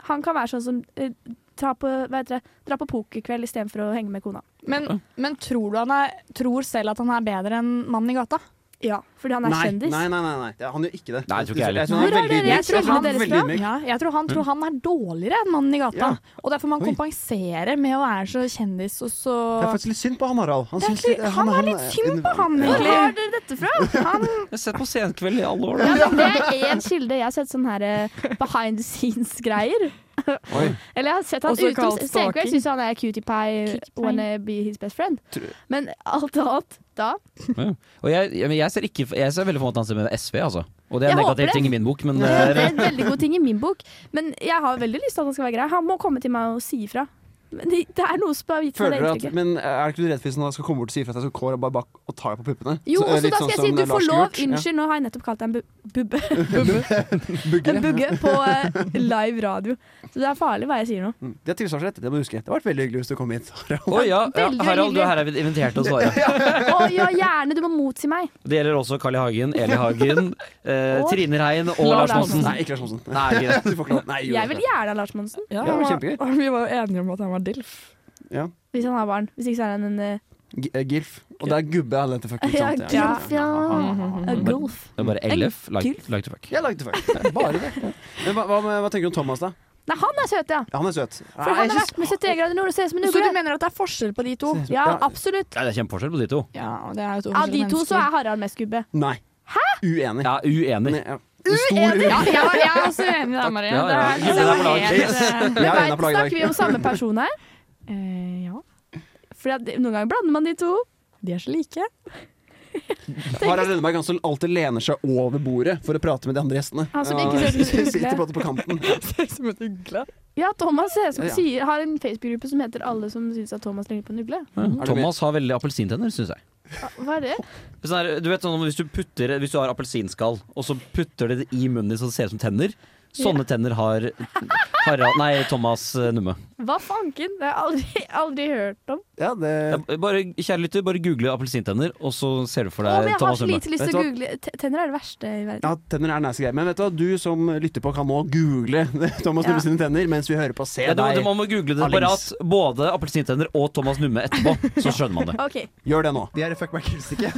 Speaker 3: han kan være sånn som eh, dra på, hva heter det, dra på pokerkveld istedenfor å henge med kona.
Speaker 4: Men, men tror du han er, tror selv at han er bedre enn mannen i gata?
Speaker 3: Ja, fordi han er
Speaker 2: nei,
Speaker 3: kjendis.
Speaker 2: Nei, nei, nei, nei. Ja, han gjør ikke det.
Speaker 1: Nei, jeg tror ikke jeg heller.
Speaker 2: tror han
Speaker 3: Hvor
Speaker 2: er
Speaker 3: har
Speaker 2: veldig
Speaker 3: dere- jeg
Speaker 2: ydmyk.
Speaker 3: tror
Speaker 2: Jeg tror han
Speaker 3: dere
Speaker 2: er
Speaker 3: deres
Speaker 2: veldig
Speaker 3: fra?
Speaker 2: ydmyk.
Speaker 4: Ja, jeg tror han tror han er dårligere enn mannen i gata.
Speaker 2: Ja.
Speaker 4: Og derfor man
Speaker 2: Oi.
Speaker 4: kompenserer med å være så kjendis og så
Speaker 2: Det er faktisk litt synd på han Harald. Han,
Speaker 4: Det er
Speaker 2: syns
Speaker 4: litt-
Speaker 2: litt-
Speaker 4: han er litt synd på han,
Speaker 3: Hvor
Speaker 4: egentlig.
Speaker 3: har dere dette fra? Han,
Speaker 1: Jeg har sett på senkveld i alle år da.
Speaker 3: ja, men det er én kilde. Jeg har sett sånne her, eh, behind the scenes-greier.
Speaker 2: Oi.
Speaker 3: Eller jeg har sett han
Speaker 4: Også
Speaker 3: utom
Speaker 4: kalt
Speaker 3: Senkveld,
Speaker 4: stalking.
Speaker 3: syns han er cutie pie,
Speaker 4: Cutie pie.
Speaker 3: wanna be his best friend.
Speaker 2: Tror-
Speaker 3: Men alt annet da
Speaker 1: Og jeg, jeg, men jeg ser ikke Jeg ser veldig for meg at han stemmer med SV altså Og det er
Speaker 3: Jeg
Speaker 1: en
Speaker 3: håper det.
Speaker 1: negativ ting i min bok Men
Speaker 3: Det
Speaker 1: eh,
Speaker 3: er en veldig god ting i min bok, men jeg har veldig lyst til at han skal være grei. Han må komme til meg og si ifra. Men det, det er noe som har gitt meg det
Speaker 2: Føler du at,
Speaker 3: inntrykket.
Speaker 2: men eh, er ikke du redd for hvis han skal komme bort og si ifra at jeg skal kåre bare bak og ta deg på puppene?
Speaker 3: Jo,
Speaker 2: Så, eh,
Speaker 3: og så
Speaker 2: litt
Speaker 3: da
Speaker 2: sånn
Speaker 3: skal jeg si
Speaker 2: som
Speaker 3: du får
Speaker 2: Lars
Speaker 3: lov.
Speaker 2: Hjort. Ja.
Speaker 3: Unnskyld, nå har jeg nettopp kalt deg en bu bubbe.
Speaker 2: Bugger,
Speaker 3: En
Speaker 2: ja.
Speaker 3: bugge på eh, live radio. Så det er farlig hva jeg sier nå.
Speaker 2: Mm. Det er tilsvarsrett, det må du huske. Det har vært veldig hyggelig hvis du kom hit. Harald.
Speaker 1: Å ja, ja,
Speaker 3: Veldig, veldig
Speaker 1: Harald, du er her invitert til å svare
Speaker 3: Å ja, gjerne. Du må motsi meg.
Speaker 1: Det gjelder også Carl I. Hagen, Eli Hagen, eh,
Speaker 3: Og-
Speaker 1: Trine Rein og
Speaker 4: Lars
Speaker 1: Lars Monsen.
Speaker 2: Nei, ikke Lars Monsen.
Speaker 1: Nei, ikke det.
Speaker 2: Du får ikke lov. Nei, jo.
Speaker 3: Jeg vil gjerne ha Lars Monsen.
Speaker 4: Ja,
Speaker 2: det var
Speaker 4: han
Speaker 2: kjempegøy.
Speaker 4: og Vi var jo enige om at han var DILF.
Speaker 2: Ja.
Speaker 3: Hvis han har barn. Hvis ikke så er han en eh,
Speaker 2: G- eh, Gilf. Og det er gubbe alle dette fucking
Speaker 3: Ja,
Speaker 2: sant,
Speaker 3: Gilf, ja.
Speaker 4: Mm.
Speaker 3: en golf.
Speaker 1: Det er bare LF. Like, like to fuck.
Speaker 2: Jeg lagde fuck. Bare det. Men hva, hva, med- hva tenker du om Thomas, da?
Speaker 3: Nei, han er søt, ja.
Speaker 2: Ja, han er søt.
Speaker 3: For han har vært med 71 grader nord og ser ut som en
Speaker 4: Så du
Speaker 3: ugle.
Speaker 4: mener at det er forskjell på de to?
Speaker 3: Ja, absolutt.
Speaker 1: Ja, det er kjempeforskjell på de to.
Speaker 4: Ja, det er jo
Speaker 3: Av
Speaker 4: to
Speaker 3: de
Speaker 4: forskjellige
Speaker 3: to så
Speaker 4: mennesker.
Speaker 3: er Harald mest gubbe.
Speaker 2: Nei. Uenig.
Speaker 1: Ja, uenig.
Speaker 2: Men, ja. Stor uenig.
Speaker 4: ja, jeg, var- jeg er også uenig i deg, Marie.
Speaker 1: Ja, ja.
Speaker 4: Det er, det
Speaker 1: Gubben er på
Speaker 4: er
Speaker 1: lag.
Speaker 4: helt, eh,
Speaker 2: Jeg er
Speaker 3: Nei,
Speaker 2: enig på laget i
Speaker 3: snakker vi
Speaker 2: dag.
Speaker 3: om samme person her?
Speaker 4: eh, ja,
Speaker 3: For noen ganger blander man de to.
Speaker 4: de er så like.
Speaker 2: Harald Rønneberg Gansel alltid lener seg over bordet for å prate med de andre gjestene.
Speaker 3: Han som ikke ser ut som en ugle.
Speaker 2: sitter på, på kanten.
Speaker 4: Ser ut som en ugle.
Speaker 3: Ja, Thomas ser ut som
Speaker 2: Ja.
Speaker 3: sier, har en Facebook-gruppe som heter 'Alle som syns at Thomas ligner på en ugle'.
Speaker 2: Er det
Speaker 1: Mm. Thomas har veldig appelsintenner, syns jeg.
Speaker 3: Hva- Hva er det?
Speaker 1: Sånn her, du vet sånn, hvis, du putter, hvis du har appelsinskall, og så putter det i munnen din så det ser ut som tenner Sånne tenner har Harald Nei, Thomas eh, Numme.
Speaker 3: Hva fanken? Det har jeg aldri, aldri hørt om.
Speaker 2: Ja, det,
Speaker 1: Ja, Bare, kjære lytter, bare google appelsintenner, og så ser du for
Speaker 3: Å,
Speaker 1: deg
Speaker 3: men jeg har
Speaker 1: Thomas
Speaker 3: så
Speaker 1: Numme.
Speaker 3: lite lyst
Speaker 2: Vet
Speaker 3: til
Speaker 2: du
Speaker 3: å
Speaker 2: hva?
Speaker 3: google. T- Tenner er det verste i verden.
Speaker 2: ja, tenner er nice greier. Men vet du hva, du som lytter på, kan nå google Thomas
Speaker 3: Ja.
Speaker 2: Numme sine tenner mens vi hører på Se
Speaker 1: Ja, du, må-
Speaker 2: deg.
Speaker 1: du, man må google det
Speaker 2: Alings.
Speaker 1: parat. Både appelsintenner og Thomas Numme etterpå, så skjønner man det.
Speaker 3: OK. eh,
Speaker 2: Gjør det nå.
Speaker 5: De er i fuck meg ikke.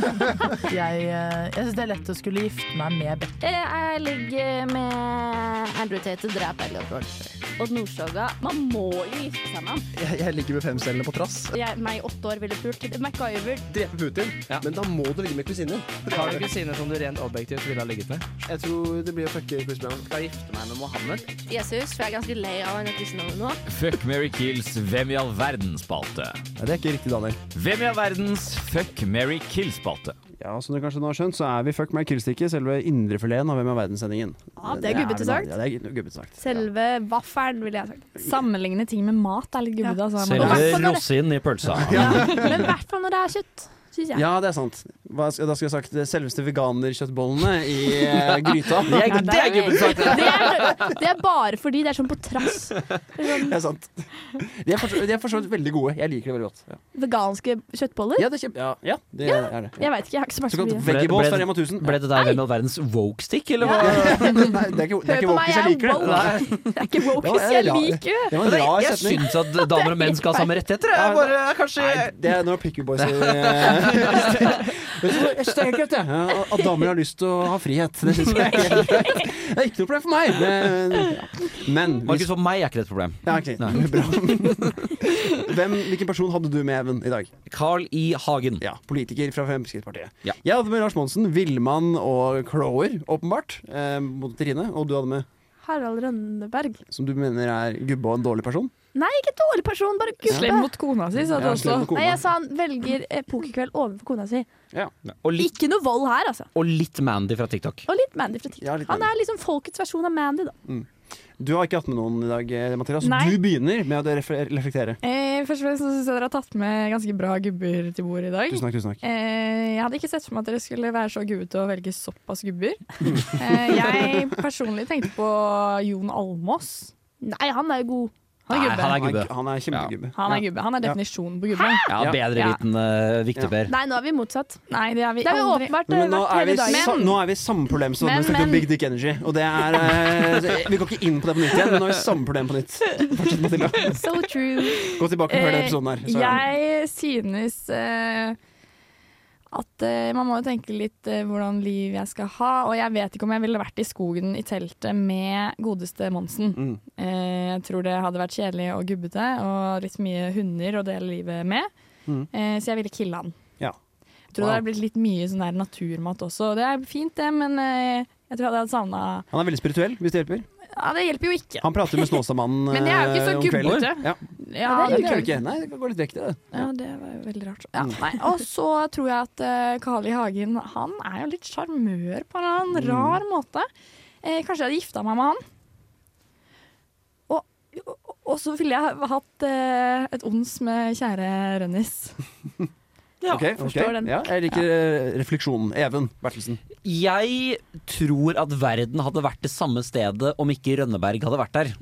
Speaker 8: Jeg, eh, jeg syns det er lett å skulle gifte meg med Beck.
Speaker 9: Jeg ligger med Andrew Tate og dreper Elliot Rolfer. Odd Nordstoga. Man må jo gifte seg med ham.
Speaker 5: Jeg, jeg ligger med femcellene på trass.
Speaker 9: Jeg, meg i åtte år ville pult. MacGyver.
Speaker 5: Drepe Putin. Men da må du ligge med kusinen.
Speaker 10: Har du kusiner som du rent objektivt ville ha ligget med?
Speaker 5: Jeg tror det blir å fucke kusinen.
Speaker 10: Skal gifte meg med Mohammed.
Speaker 9: Jesus, for jeg er ganske lei av han kristendommen nå.
Speaker 10: Fuck Mary Kills Hvem i all verden-spalte.
Speaker 2: Ja, det er ikke riktig, Daniel.
Speaker 10: Hvem i all verdens Fuck Mary Kill-spalte.
Speaker 2: Ja, Som dere kanskje nå har skjønt, så er vi Fuck meg krillstikke, selve indrefileten av Hvem er verden-sendingen.
Speaker 3: Ja, det er gubbete
Speaker 2: vel
Speaker 3: sagt.
Speaker 2: Ja, det er gubbete sagt.
Speaker 3: Selve vaffelen, ville jeg sagt.
Speaker 4: Sammenligne ting med mat er litt gubbete. Altså.
Speaker 3: Og
Speaker 4: Man-
Speaker 1: Selve
Speaker 3: hvertfall når det-
Speaker 1: rosin i pølsa.
Speaker 3: Men i hvert fall når det er kjøtt, syns jeg.
Speaker 2: Ja, det er sant. Hva, skal- da skulle jeg sagt eh, selveste veganerkjøttbollene i eh, gryta.
Speaker 1: Det er, det er gubben sagt!
Speaker 3: Det er, det er bare fordi det er sånn på trass. Det
Speaker 2: Det er
Speaker 3: er Sånn
Speaker 2: sant. De er for så- de er for så vidt veldig gode. Jeg liker det veldig godt. Ja,
Speaker 3: veganske kjøttboller.
Speaker 2: ja det er kjempe... Ja, ja det er det.
Speaker 3: Jeg veit ikke, jeg har ikke smakt så
Speaker 2: Såkalt
Speaker 3: mye.
Speaker 2: veggibås
Speaker 1: Ble-
Speaker 2: fra Rema 1000.
Speaker 1: Ble det der Hvem i all verdens woke-stick, eller hva?
Speaker 2: Nei, det er ikke, det er
Speaker 3: Hør
Speaker 2: ikke
Speaker 3: på meg,
Speaker 2: wokis, jeg liker det. Nei,
Speaker 3: jeg er
Speaker 2: Ja,
Speaker 3: woke. Jeg er ikke woke, hvis
Speaker 2: jeg
Speaker 3: jeg
Speaker 2: er rar.
Speaker 3: liker det.
Speaker 2: Det var en rar
Speaker 1: Jeg
Speaker 2: setning.
Speaker 1: syns at damer og menn skal ha samme rettigheter. Jeg bare, jeg, kanskje
Speaker 2: Nei, det er når Picky Boys eh, Vet du hva, Jeg syns det er helt greit, jeg. Ja, At damer har lyst til å ha frihet. Det syns jeg er helt greit. Det er ikke noe problem for meg. Men, ja. men
Speaker 1: Markus, for meg er ikke det et problem.
Speaker 2: Ja, ok.
Speaker 1: Nei.
Speaker 2: Bra. Hvem, hvilken person hadde du med, Even, i dag?
Speaker 1: Carl I. Hagen.
Speaker 2: Ja, Politiker fra Fremskrittspartiet.
Speaker 1: Ja.
Speaker 2: Jeg hadde med Lars Monsen, Villmann og Crower, åpenbart. Eh, mot Trine. Og du hadde med,
Speaker 3: Harald Rønneberg.
Speaker 2: som du mener er gubbe og en dårlig person?
Speaker 3: Nei, ikke dårlig person, bare
Speaker 4: Slem
Speaker 3: gubbe.
Speaker 4: mot kona si, sa du
Speaker 2: Ja,
Speaker 4: også.
Speaker 2: slem mot kona.
Speaker 3: Nei, jeg sa han velger eh, pokerkveld overfor kona si.
Speaker 1: Og litt,
Speaker 3: Ikke noe vold her, altså.
Speaker 1: og litt Mandy fra TikTok.
Speaker 3: Og litt Mandy fra TikTok.
Speaker 2: Ja, litt
Speaker 3: Han
Speaker 2: Mandy.
Speaker 3: er liksom folkets versjon av Mandy, da.
Speaker 2: Du har ikke hatt med noen i dag, eh, Mathias.
Speaker 4: Nei.
Speaker 2: Du begynner med å refle- reflektere.
Speaker 4: Eh, først og fremst syns jeg dere har tatt med ganske bra gubber til bordet i dag.
Speaker 2: Tusen takk, tusen takk.
Speaker 4: Eh, jeg hadde ikke sett for meg at dere skulle være så gubbete og velge såpass gubber. Eh, jeg personlig tenkte på Jon Almås.
Speaker 3: Nei, han er jo god.
Speaker 4: Han er
Speaker 1: Nei,
Speaker 4: gubbe.
Speaker 1: han er gubbe.
Speaker 2: Han er kjempegubbe.
Speaker 4: Han er
Speaker 2: Ja.
Speaker 4: gubbe. Han er
Speaker 2: Ja.
Speaker 4: definisjonen på gubbe.
Speaker 1: Ja, eh,
Speaker 2: Ja.
Speaker 1: Bedrevitende
Speaker 2: Ja.
Speaker 1: viktigper.
Speaker 3: Nei, nå er vi motsatt.
Speaker 4: Nei, det er vi
Speaker 3: Det har vi
Speaker 4: aldri.
Speaker 3: åpenbart eh,
Speaker 2: Men nå
Speaker 3: vært
Speaker 2: er, vi,
Speaker 3: hele dagen.
Speaker 2: sa, nå er vi i samme problem som da
Speaker 3: Men,
Speaker 2: vi snakket om
Speaker 3: men-
Speaker 2: Big Dick Energy. Og det er eh, Vi går ikke inn på det på nytt igjen, men nå er vi i samme problem på nytt. Fortsett, Mathilda.
Speaker 3: So true.
Speaker 2: Gå tilbake og hør den episoden her. så-
Speaker 4: Eh, Jeg synes eh, at eh, man må jo tenke litt eh, hvordan liv jeg skal ha, og jeg vet ikke om jeg ville vært i skogen i teltet med godeste Monsen.
Speaker 2: Mm.
Speaker 4: Eh, jeg tror det hadde vært kjedelig og gubbete, og litt mye hunder å dele livet med,
Speaker 2: Mm.
Speaker 4: eh, så jeg ville kille han.
Speaker 2: Ja.
Speaker 4: Jeg
Speaker 2: Wow.
Speaker 4: tror det hadde blitt litt mye sånn der naturmat også, og det er fint det, men eh, jeg tror jeg hadde savnet
Speaker 2: Han er veldig spirituell, hvis det hjelper.
Speaker 4: Ja, det hjelper jo ikke.
Speaker 2: Han prater med Snåsamannen
Speaker 4: Men det er jo ikke så
Speaker 2: eh, om kvelden.
Speaker 4: gubbete.
Speaker 2: Ja.
Speaker 4: Ja,
Speaker 2: Nei, det
Speaker 4: det
Speaker 2: kan
Speaker 4: er
Speaker 2: du ikke. Nei, det kan gå litt vekk til det.
Speaker 4: Ja, det var jo veldig rart. Mm. Ja, nei. Og så tror jeg at eh, Carl I. Hagen han er jo litt sjarmør på en annen rar måte. Eh, kanskje jeg hadde gifta meg med han. Og, og, og så ville jeg ha- hatt eh, et ons med kjære Rønnis.
Speaker 3: Ja,
Speaker 2: Ok, ok.
Speaker 3: forstår den.
Speaker 2: Ja, jeg liker eh, refleksjonen. Even Bertelsen.
Speaker 1: Jeg tror at verden hadde vært det samme stedet om ikke Rønneberg hadde vært der.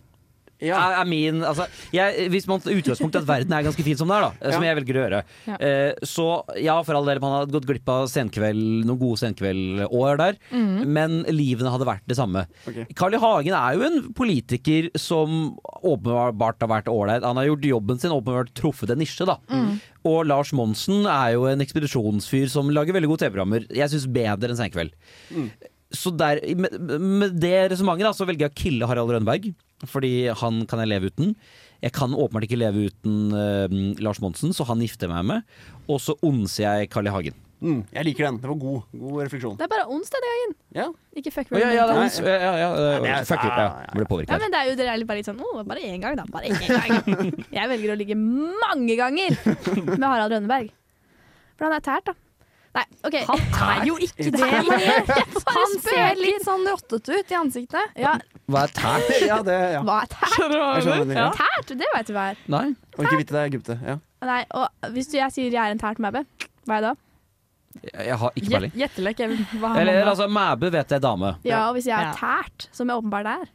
Speaker 2: Ja.
Speaker 1: er, er min, altså, jeg, hvis man tar utgangspunkt i at verden er ganske fin som den er, da, som
Speaker 2: Ja.
Speaker 1: jeg velger å gjøre,
Speaker 4: Ja.
Speaker 1: eh, så ja, for all del, man hadde gått glipp av senkveld, noen gode senkveldår der, men livene hadde vært det samme.
Speaker 2: Ok.
Speaker 1: Carl I. Hagen er jo en politiker som åpenbart har vært ålreit. Han har gjort jobben sin, åpenbart truffet en nisje, da.
Speaker 3: Mm.
Speaker 1: Og Lars Monsen er jo en ekspedisjonsfyr som lager veldig gode TV-programmer. Jeg syns bedre enn Senkveld. Mm. Så der, med, med det resonnementet da, så velger jeg å kille Harald Rønneberg. Fordi han kan jeg leve uten. Jeg kan åpenbart ikke leve uten eh, Lars Monsen, så han gifter jeg meg med. Og så ondser jeg Carl I. Hagen.
Speaker 2: Mm, jeg liker den. Det var god, god refleksjon.
Speaker 3: Det er bare onsdag den gangen.
Speaker 2: Ja.
Speaker 3: Ikke fuck
Speaker 1: Å, ja, ja, det er
Speaker 2: Nei,
Speaker 1: ons- ja, ja, ja, det
Speaker 2: Nei,
Speaker 1: er-
Speaker 2: det er-
Speaker 1: Fuck it, ah, ja. Jeg Ble påvirket
Speaker 3: Ja,
Speaker 1: her.
Speaker 3: men det er jo dere er litt bare litt sånn Å, bare én gang, da. Bare én gang. Jeg velger å ligge mange ganger med Harald Rønneberg. For han er tært, da.
Speaker 4: Nei, ok.
Speaker 9: Han er jo ikke det.
Speaker 4: Marie. Han
Speaker 9: Han ser
Speaker 4: ser litt sånn rottete ut i ansiktet.
Speaker 1: Hva er tært?
Speaker 2: Ja, det, ja.
Speaker 4: Hva er tært?
Speaker 2: Jeg skjønner det. Ja.
Speaker 4: Tært, det vet du hva er.
Speaker 1: Nei.
Speaker 2: Og ikke vite det er Egypte. Ja.
Speaker 3: Nei, og hvis du, jeg sier jeg er en tært mæbe, hva er jeg da?
Speaker 1: Jeg jeg har ikke peiling.
Speaker 4: Gjettelek, Even. Hva har
Speaker 1: Eller
Speaker 4: man da?
Speaker 1: altså, Mæbø vet jeg er dame.
Speaker 3: Ja, og hvis jeg er
Speaker 4: Ja.
Speaker 3: tært, som jeg åpenbart er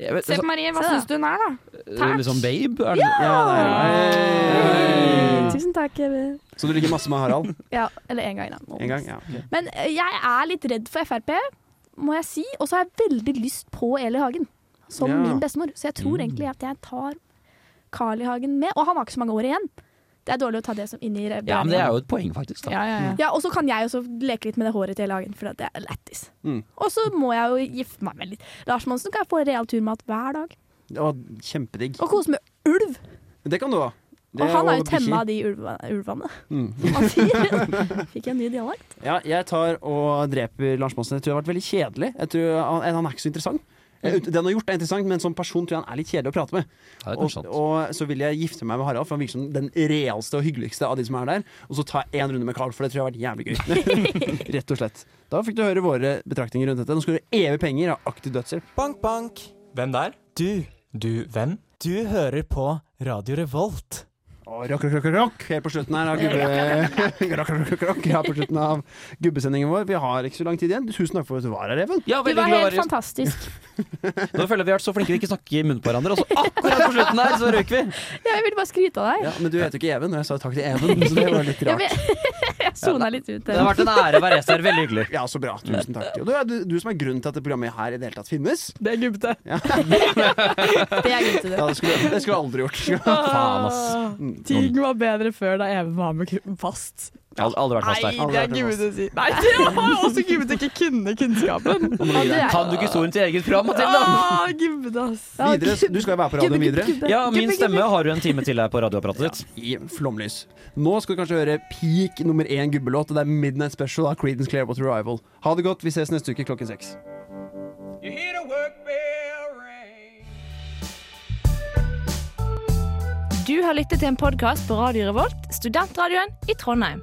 Speaker 1: Jeg vet, altså-
Speaker 4: Se på Marie, hva
Speaker 3: Se da.
Speaker 4: syns du hun er, da?
Speaker 1: så, liksom babe? Er det,
Speaker 2: Ja, det er det. Hey.
Speaker 3: Tusen takk. Even.
Speaker 2: Så du ligger masse med Harald?
Speaker 3: Ja, eller én gang, da.
Speaker 2: En gang? Ja, ok.
Speaker 3: Men eh, jeg er litt redd for Frp, må jeg si. Og så har jeg veldig lyst på Eli Hagen som
Speaker 2: Ja.
Speaker 3: min bestemor. Så jeg tror egentlig at jeg tar Carl I. Hagen med. Og han har ikke så mange år igjen. Det er dårlig å ta det som inn i
Speaker 1: ja, men det er jo et poeng, faktisk. Da.
Speaker 4: Ja, ja, ja.
Speaker 3: Ja, og så kan jeg også leke litt med det håret til Eli Hagen, for det er lættis.
Speaker 2: Mm.
Speaker 3: Og så må jeg jo gifte meg med litt Lars Monsen, kan jeg få real turmat hver dag.
Speaker 2: Det var kjempedigg.
Speaker 3: Og kose med ulv.
Speaker 2: Det kan du ha. Det
Speaker 3: og han er jo
Speaker 2: bikkjer.
Speaker 3: temma av de ulva, ulvene.
Speaker 2: Mm.
Speaker 3: som han sier. Fikk jeg en ny dialekt?
Speaker 2: Ja, jeg tar og dreper Lars Monsen. Jeg tror det har vært veldig kjedelig. Jeg tror han, han er ikke så interessant. Eh, Det han har gjort er interessant, men som person tror jeg han er litt kjedelig å prate med.
Speaker 1: Ja, det er
Speaker 2: Og,
Speaker 1: kanskje sant.
Speaker 2: og så vil jeg gifte meg med Harald, for han virker som den realste og hyggeligste av de som er der. Og så ta én runde med Carl, for det tror jeg har vært jævlig gøy. Rett og slett. Da fikk du høre våre betraktninger rundt dette. Nå skal du evig penger av aktiv dødshjelp.
Speaker 11: Bank, bank. Hvem der? Du. Du, hvem? Du hører på Radio Revolt.
Speaker 2: Og rock, rock, rock, rock, helt på slutten her av gubbe... rock, rock, rock, rock, her på slutten av gubbesendingen vår. Vi har ikke så lang tid igjen. Tusen takk for at du var her, Even.
Speaker 1: Ja,
Speaker 3: Du
Speaker 1: veldig
Speaker 3: var
Speaker 1: hyggelig å
Speaker 3: helt
Speaker 1: være gjest.
Speaker 3: fantastisk.
Speaker 1: Nå føler jeg vi har vært så flinke vi ikke snakker i munnen på hverandre, og så akkurat på slutten her, så røyker vi.
Speaker 3: Jeg ville bare skryte av deg.
Speaker 2: Ja, men du heter jo ikke Even, og jeg sa takk til Even, så det var litt
Speaker 3: Jeg,
Speaker 2: rart.
Speaker 3: vet- jeg sona litt ut.
Speaker 1: Det har vært en ære å være gjest her. Veldig hyggelig.
Speaker 2: Ja, så bra. Tusen takk. Og du er du, du som er grunnen til at det programmet her i det hele tatt finnes.
Speaker 10: Det er gubbete.
Speaker 3: Det er grunn til det.
Speaker 2: Ja, det skulle det skulle jeg aldri gjort.
Speaker 1: Faen, ass.
Speaker 7: Ting var bedre før da Even var med ku- fast.
Speaker 1: Jeg har aldri vært fast
Speaker 7: Nei,
Speaker 1: der.
Speaker 7: det er gubbete å si. Nei, det var jo også gubbete å ikke kunne kunnskapen.
Speaker 3: Ja, det er-
Speaker 1: Kan du ikke historien til eget program, Mathilde?
Speaker 7: Ah, gubbete, ass.
Speaker 2: Videre, du skal jo være på radioen videre.
Speaker 1: Ja, min stemme har du en time til her på radioapparatet ditt.
Speaker 2: I flomlys. Nå skal du kanskje høre peak nummer én gubbelåt, og det er Midnight Special av Creedence Clearwater Revival. Ha det godt, vi ses neste uke klokken seks.
Speaker 6: You hear the work bell ring.
Speaker 9: Du har lyttet til en podkast på Radio Revolt, studentradioen i Trondheim.